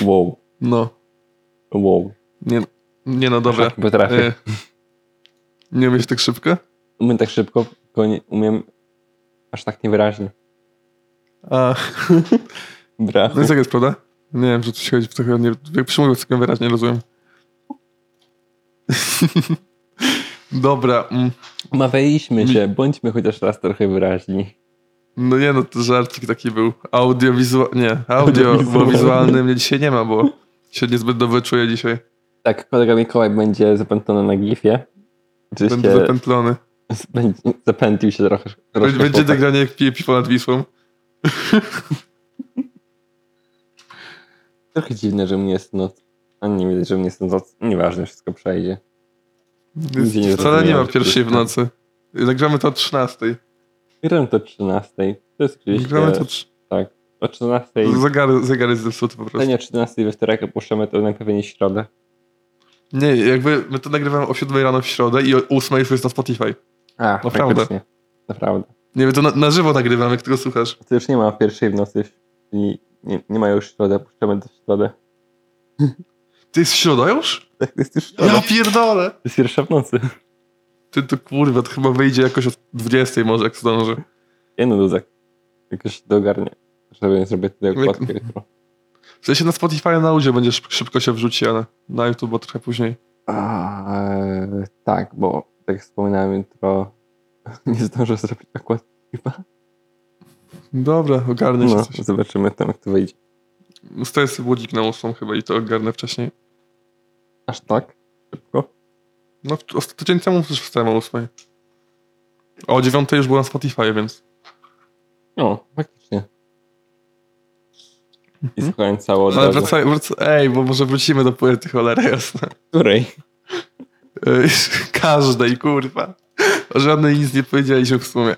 A: Wow,
B: No.
A: wow.
B: Nie, nie no, dobra.
A: Tak potrafię.
B: Y, Nie myśl tak szybko?
A: Umiem tak szybko, tylko nie umiem aż tak niewyraźnie.
B: A, (laughs)
A: Brawo.
B: no i tak jest, prawda? Nie wiem, że tu się chodzi, trochę nie, jak przemówił, całkiem wyraźnie rozumiem. (laughs) dobra. mm,
A: Umawialiśmy się, bądźmy chociaż raz trochę wyraźni.
B: No nie no, to żarcik taki był. Audiowizualny, nie,
A: Audiowizualny.
B: audiowizualny mnie dzisiaj nie ma, bo się niezbyt dobrze czuję dzisiaj.
A: Tak, kolega Mikołaj będzie zapętlony na gifie. Oczywiście
B: Będę zapętlony.
A: spędzi- zapętlił się trochę. troszkę
B: Będzie
A: chłopak.
B: nagranie jak pije piwo nad Wisłą.
A: Trochę dziwne, że mnie jest noc. A nie widać, że mnie jest noc. Nieważne, wszystko przejdzie. Nigdzie nie
B: Wcale nie ma
A: zrozumiałem, że
B: pierwszej w
A: to no.
B: nocy. Nagramy to o 13.
A: Gramy to 13. To jest gdzieś
B: Nagramy
A: e,
B: to trz-
A: tak. O 13.
B: zegar, zegar jest zepsuty po prostu.
A: Pytanie o 13 we wtorek opuszczamy to najpewniej środę.
B: Nie, jakby my to nagrywamy o 7 rano w środę i o 8 już jest na Spotify.
A: A,
B: Naprawdę.
A: faktycznie. Naprawdę.
B: Nie, my to na, na żywo nagrywamy, jak tego słuchasz.
A: To już nie ma pierwszej w nocy. Czyli nie, nie ma już środę, opuszczamy to w środę.
B: Ty jest środa już?
A: Tak, to jest już środa.
B: Ja pierdolę!
A: To jest pierwsza w nocy.
B: Ty to kurwa, to chyba wyjdzie jakoś o 20 może, jak zdąży.
A: Nie no, Duzek. Jakoś dogarnie. Żeby zrobię tutaj
B: Jak-
A: okładkę jutro.
B: W sensie na Spotify na audio będzie szyb- szybko się wrzuci, ale na YouTube bo trochę później.
A: A, e, tak, bo tak jak wspominałem jutro (laughs) nie zdążę zrobić okładki chyba.
B: Dobra, ogarnę się
A: No,
B: coś.
A: zobaczymy tam jak to wyjdzie.
B: Ustaję sobie budzik na 8 chyba i to ogarnę wcześniej.
A: Aż tak? Szybko?
B: No, w- ost- tydzień temu też wstałem o 8. A o 9 już było na Spotify, więc.
A: No, faktycznie. I słuchałem cało od
B: Mhm. Ale
A: razu.
B: wracaj, wracaj, ej, bo może wrócimy do płyty, cholera jasna. (laughs)
A: Której?
B: Ej, Każdej, kurwa. O żadnej nic nie powiedzieliśmy w sumie.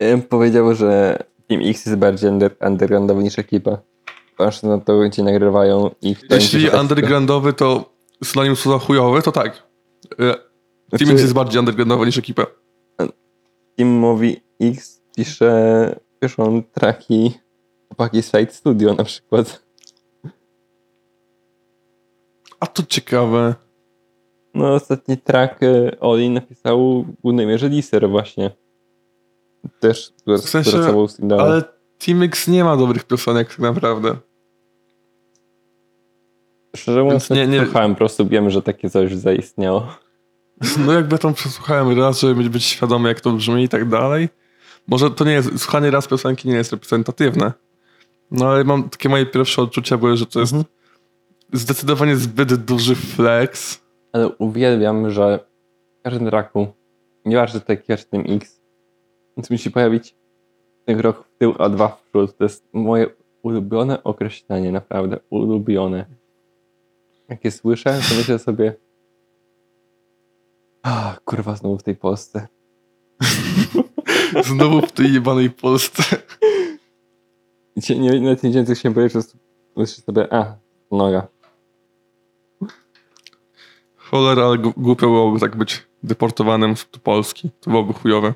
A: Ja bym powiedział, że Team X jest bardziej under, undergroundowy niż ekipa. Patrz na to, gdzie nagrywają i kto im pisze
B: Jeśli
A: teksty.
B: undergroundowy to synonim słowa chujowy, to tak. E, Team
A: Znaczy,
B: X jest bardziej undergroundowy niż ekipa.
A: Team mówi X pisze, piszą traki chłopaki z Side Studio na przykład.
B: A to ciekawe.
A: No ostatni track e, Oli napisał w głównej mierze Liser właśnie. Też
B: W sensie,
A: pracował z Indalem.
B: Ale Team X nie ma dobrych piosenek tak naprawdę.
A: Szczerze mówiąc,
B: nie-
A: nie,
B: nie-
A: słuchałem, po prostu wiem, że takie coś zaistniało.
B: No jakby tam przesłuchałem raz, żeby być- być świadomy jak to brzmi i tak dalej. Może to nie jest, słuchanie raz piosenki nie jest reprezentatywne. No ale mam, takie moje pierwsze odczucia były, że to jest zdecydowanie zbyt duży flex.
A: Ale uwielbiam, że w każdym raku, nieważne czy to tym X, więc musi pojawić ten krok w tył, a dwa w przód. To jest moje ulubione określenie, naprawdę ulubione. Jak je słyszę, to myślę sobie "Ah, kurwa, znowu w tej Polsce.
B: Znowu w tej jebanej Polsce.
A: Gdzie nie, nawet nie wiedziałem, co się powiedzieć, że myślę sobie, a, noga.
B: Cholera, ale gu- głupio byłoby tak być deportowanym do Polski. To byłoby chujowe.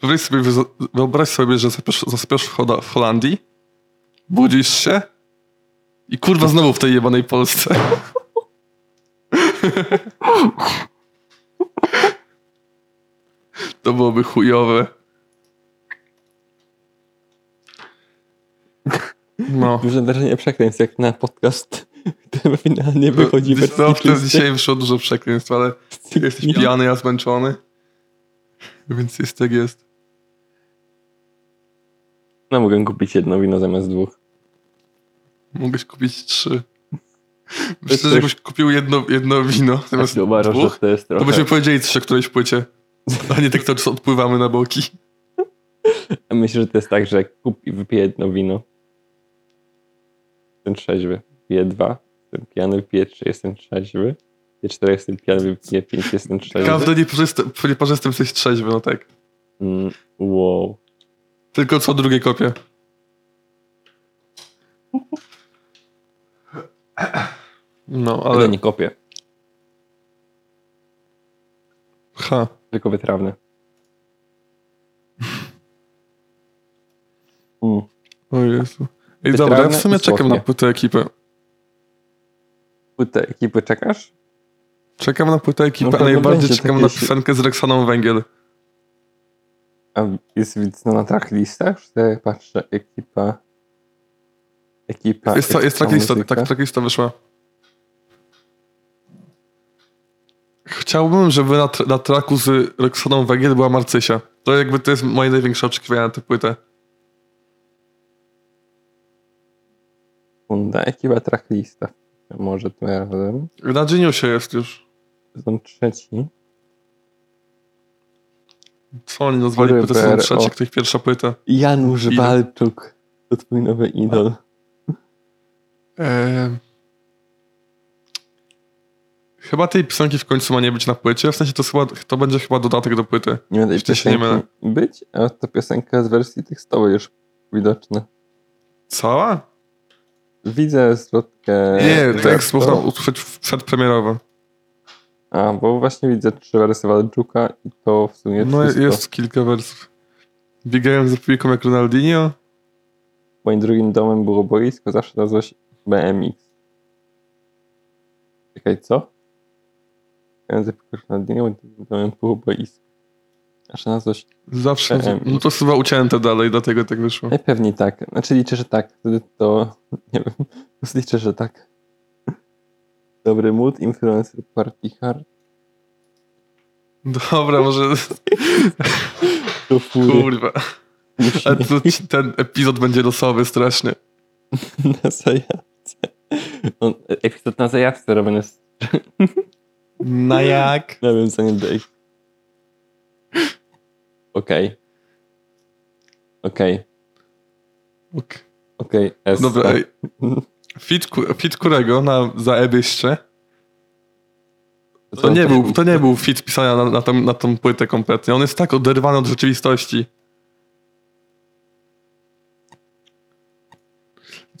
B: Wyobraź sobie, wyzo- wyobraź sobie że zaspiesz, zaspiesz w Hoda- w Holandii, budzisz się i kurwa znowu w tej jebanej Polsce. (laughs) To byłoby chujowe. No.
A: Duże wrażenie przekleństw, jak na podcast, (laughs) który finalnie wychodzi bez
B: No,
A: cyklisty.
B: wtedy dzisiaj wyszło dużo przekleństw, ale jesteś pijany, ja zmęczony. Więc jest tak jest.
A: No mogę kupić jedno wino zamiast dwóch.
B: Mogłeś kupić trzy.
A: jest
B: Myślę, że
A: coś-
B: jakbyś kupił jedno, jedno wino zamiast
A: Jeśli Znaczy, no, uważasz, że
B: dwóch,
A: to jest trochę...
B: to byśmy powiedzieli coś o którejś płycie. A nie tak to co odpływamy na boki.
A: A Myślę, że to jest tak, że kup i wypije jedno wino. Jestem trzeźwy. Piję dwa. Jestem pijany, piję trzy, jestem trzeźwy. Piję cztery, jestem pijany, piję pięć, jestem trzeźwy.
B: Każdy nieparzyste- w nieparzystym coś trzeźwy, no tak.
A: Mm, wow.
B: Tylko co drugie kopie. No,
A: Ale
B: ale...
A: nie kopię,
B: Ha.
A: tylko wytrawne. Mm.
B: O Jezu. Ej,
A: Wytrawne
B: dobra, ja w sumie
A: i
B: czekam na
A: słodkie.
B: płytę ekipy.
A: Płytę ekipy czekasz?
B: Czekam na płytę ekipy,
A: No
B: a
A: pewno
B: najbardziej
A: będzie
B: czekam
A: takie
B: na
A: się-
B: piosenkę z Reksaną Węgiel.
A: A jest widzno na tracklistach? Czy tak patrzę, ekipa... Ekipa...
B: Jest, to, jest
A: ekstra
B: tracklista,
A: muzyka.
B: tak, tracklista wyszła. Chciałbym, żeby na, tr- na traku z Reksaną Węgiel była Marcysia. To jakby to jest moje największe oczekiwanie na tę płytę.
A: Funda, ekipa tracklista. Może tym razem.
B: Na Geniusie jest już.
A: Sezon trzeci.
B: Co oni nazwali
A: Ryber,
B: płytę sezon trzeci,
A: o.
B: których pierwsza płyta?
A: Janusz
B: Idol.
A: Walczuk. To twój nowy idol.
B: Ehm. Chyba tej piosenki w końcu ma nie być na płycie, w sensie to, jest chyba, to będzie chyba dodatek do płyty.
A: Nie ma tej
B: Jeszcze się
A: piosenki
B: nie mylę.
A: być, a ta piosenka z wersji tekstowej już widoczna.
B: Cała?
A: Widzę zwrotkę...
B: Nie, tekst
A: tekstową.
B: można usłyszeć w- przedpremierowo.
A: A, bo właśnie widzę trzy wersy Walczuka i to w sumie
B: No
A: wszystko.
B: jest kilka wersów. Biegają za piłką jak Ronaldinho.
A: Moim drugim domem było boisko, zawsze nazywa się BMX. Czekaj, co? Ja zapytam na dnie, moim drugim domem było boisko. Zawsze nazywa się...
B: Zawsze.
A: Em.
B: No to jest chyba ucięte dalej, dlatego tak wyszło.
A: Najpewniej tak. Znaczy liczę, że tak. Wtedy to... (laughs) Nie wiem. Po prostu liczę, że tak. Dobry mood, influencer, party hard.
B: Dobra, może.
A: To fury.
B: Kurwa. Ale to, ci- ten epizod będzie losowy strasznie.
A: (laughs) na zajawce. On, epizod na zajawce robiony z
B: Na jak?
A: nawiązaniem do ich. Okej. Okej.
B: Okay.
A: Okej, S.
B: Dobra,
A: tak.
B: ej. Fit, ku, fit Kurego na, za Ebyście. To
A: No
B: nie, był, to nie był fit pisania na, na, tą, na tą płytę kompletnie. On jest tak oderwany od rzeczywistości.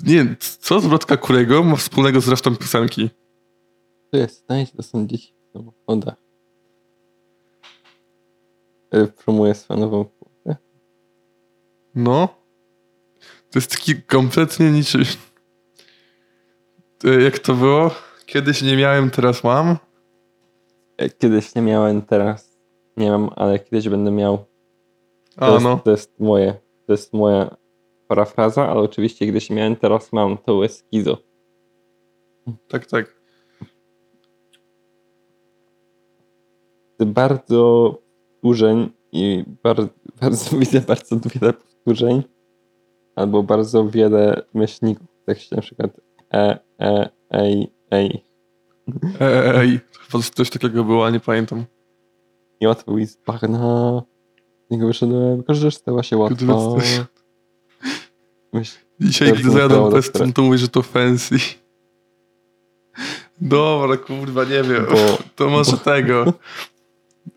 B: Nie, c- co zwrotka Kurego ma wspólnego z resztą piosenki?
A: To jest, znajdź, to są dzieci w samochodach. E, Promuję swoją nową płytę.
B: No. To jest taki kompletnie niczy. E, Jak to było? Kiedyś nie miałem, teraz mam.
A: E, Kiedyś nie miałem, teraz nie mam, ale kiedyś będę miał. To,
B: A
A: jest,
B: no.
A: to jest moje, to jest moja parafraza, ale oczywiście kiedyś nie miałem, teraz mam. To jest skizo.
B: Tak, tak.
A: bardzo urzeń i bardzo, (laughs) bardzo widzę bardzo wiele powtórzeń albo bardzo wiele myślników w tekście, na przykład e, e, ej, ej.
B: E, e, Ej, chyba coś takiego było, a nie pamiętam.
A: I łatwo z bagna. Z niego wyszedłem, każdy stała się
B: Gdyby
A: łatwo.
B: coś-
A: Myśl,
B: Dzisiaj,
A: Teraz
B: gdy
A: bym
B: zajadam
A: chciał
B: pestum,
A: dostać.
B: to mówisz, że to fancy. (laughs) Dobra, kurwa, nie wiem.
A: Bo-
B: (laughs) to może
A: bo-
B: tego.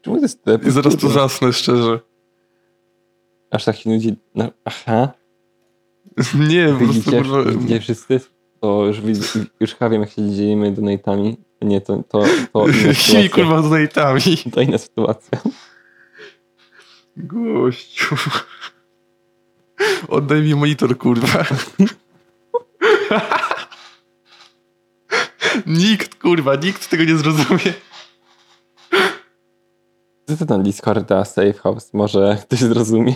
A: czemu to jest tyle
B: I zaraz
A: (laughs)
B: tu
A: powtórzeń?
B: zasnę, szczerze. (laughs)
A: Aż tak się nudzi. No, aha,
B: Nie, po prostu,
A: widzicie,
B: kurwa. (laughs)
A: widzicie wszyscy? To już, widzę- już chyba wiem, jak się dzielimy donatami. Nie, to, to, to
B: (laughs)
A: inna
B: Kimi,
A: sytuacja.
B: kurwa, z najtami.
A: To inna sytuacja.
B: Gościu. (laughs) Oddaj mi monitor, kurwa. (laughs) Nikt, kurwa, nikt tego nie zrozumie.
A: Ty na Discorda, Safe House, może ktoś zrozumie.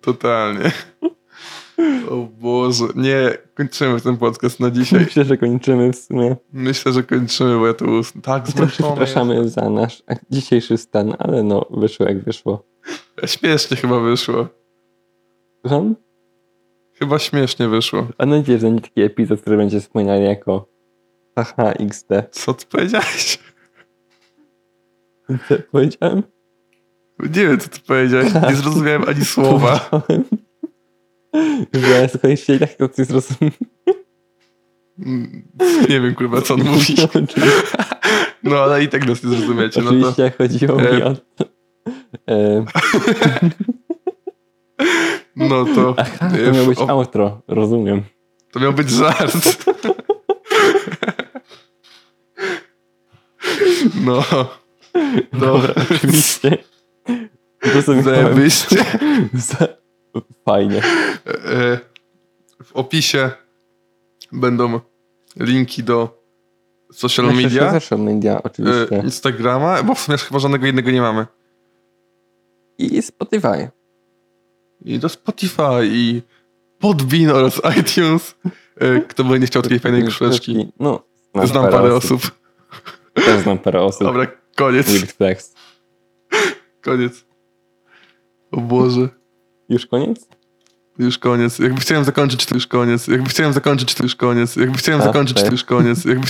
B: Totalnie. O Boże. Nie, kończymy ten podcast na dzisiaj.
A: Myślę, że kończymy w sumie.
B: Myślę, że kończymy, bo ja to był tak
A: Trochę
B: zmęczony.
A: przepraszamy za nasz dzisiejszy stan, ale no, wyszło jak wyszło.
B: jestem. Śmiesznie chyba wyszło.
A: Słucham?
B: Chyba śmiesznie wyszło.
A: Mam nadzieję, że nie taki epizod, który będzie wspomniany jako haha XD.
B: Co ty powiedziałeś?
A: Co Powiedziałem?
B: Nie wiem, co ty powiedziałeś. Nie zrozumiałem ani słowa.
A: Powiedziałem, Że słuchajcie, jak to ty zrozumiałeś?
B: Mm, Nie wiem, kurwa, co on
A: (laughs)
B: mówi.
A: No, oczywiście,
B: No, ale i tak nas nie zrozumiecie. No to...
A: oczywiście chodziło mi o to. E,
B: No to...
A: aha, to miało być outro, rozumiem.
B: To miał być żart. No. (laughs)
A: Dobra, oczywiście. Rozumiałem.
B: Zajebiście.
A: Za- Fajnie.
B: E, W opisie będą linki do social
A: Social
B: media,
A: Znaczy, Social media,
B: e,
A: oczywiście.
B: Instagrama, bo w sumie chyba żadnego jednego nie mamy.
A: I Spotify.
B: I do Spotify, i Podbean oraz (laughs) iTunes. E, Kto by nie chciał takiej fajnej krzyżeczki.
A: No,
B: Znam parę osób. Tak.
A: Też znam parę osób.
B: Dobra, koniec,
A: Weird Flex.
B: koniec. O Boże.
A: Już koniec?
B: Już koniec. Jakby chciałem zakończyć, to już koniec. Jakby chciałem zakończyć, to już koniec. Jakby chciałem
A: A,
B: zakończyć, to
A: tak.
B: już koniec. Jakby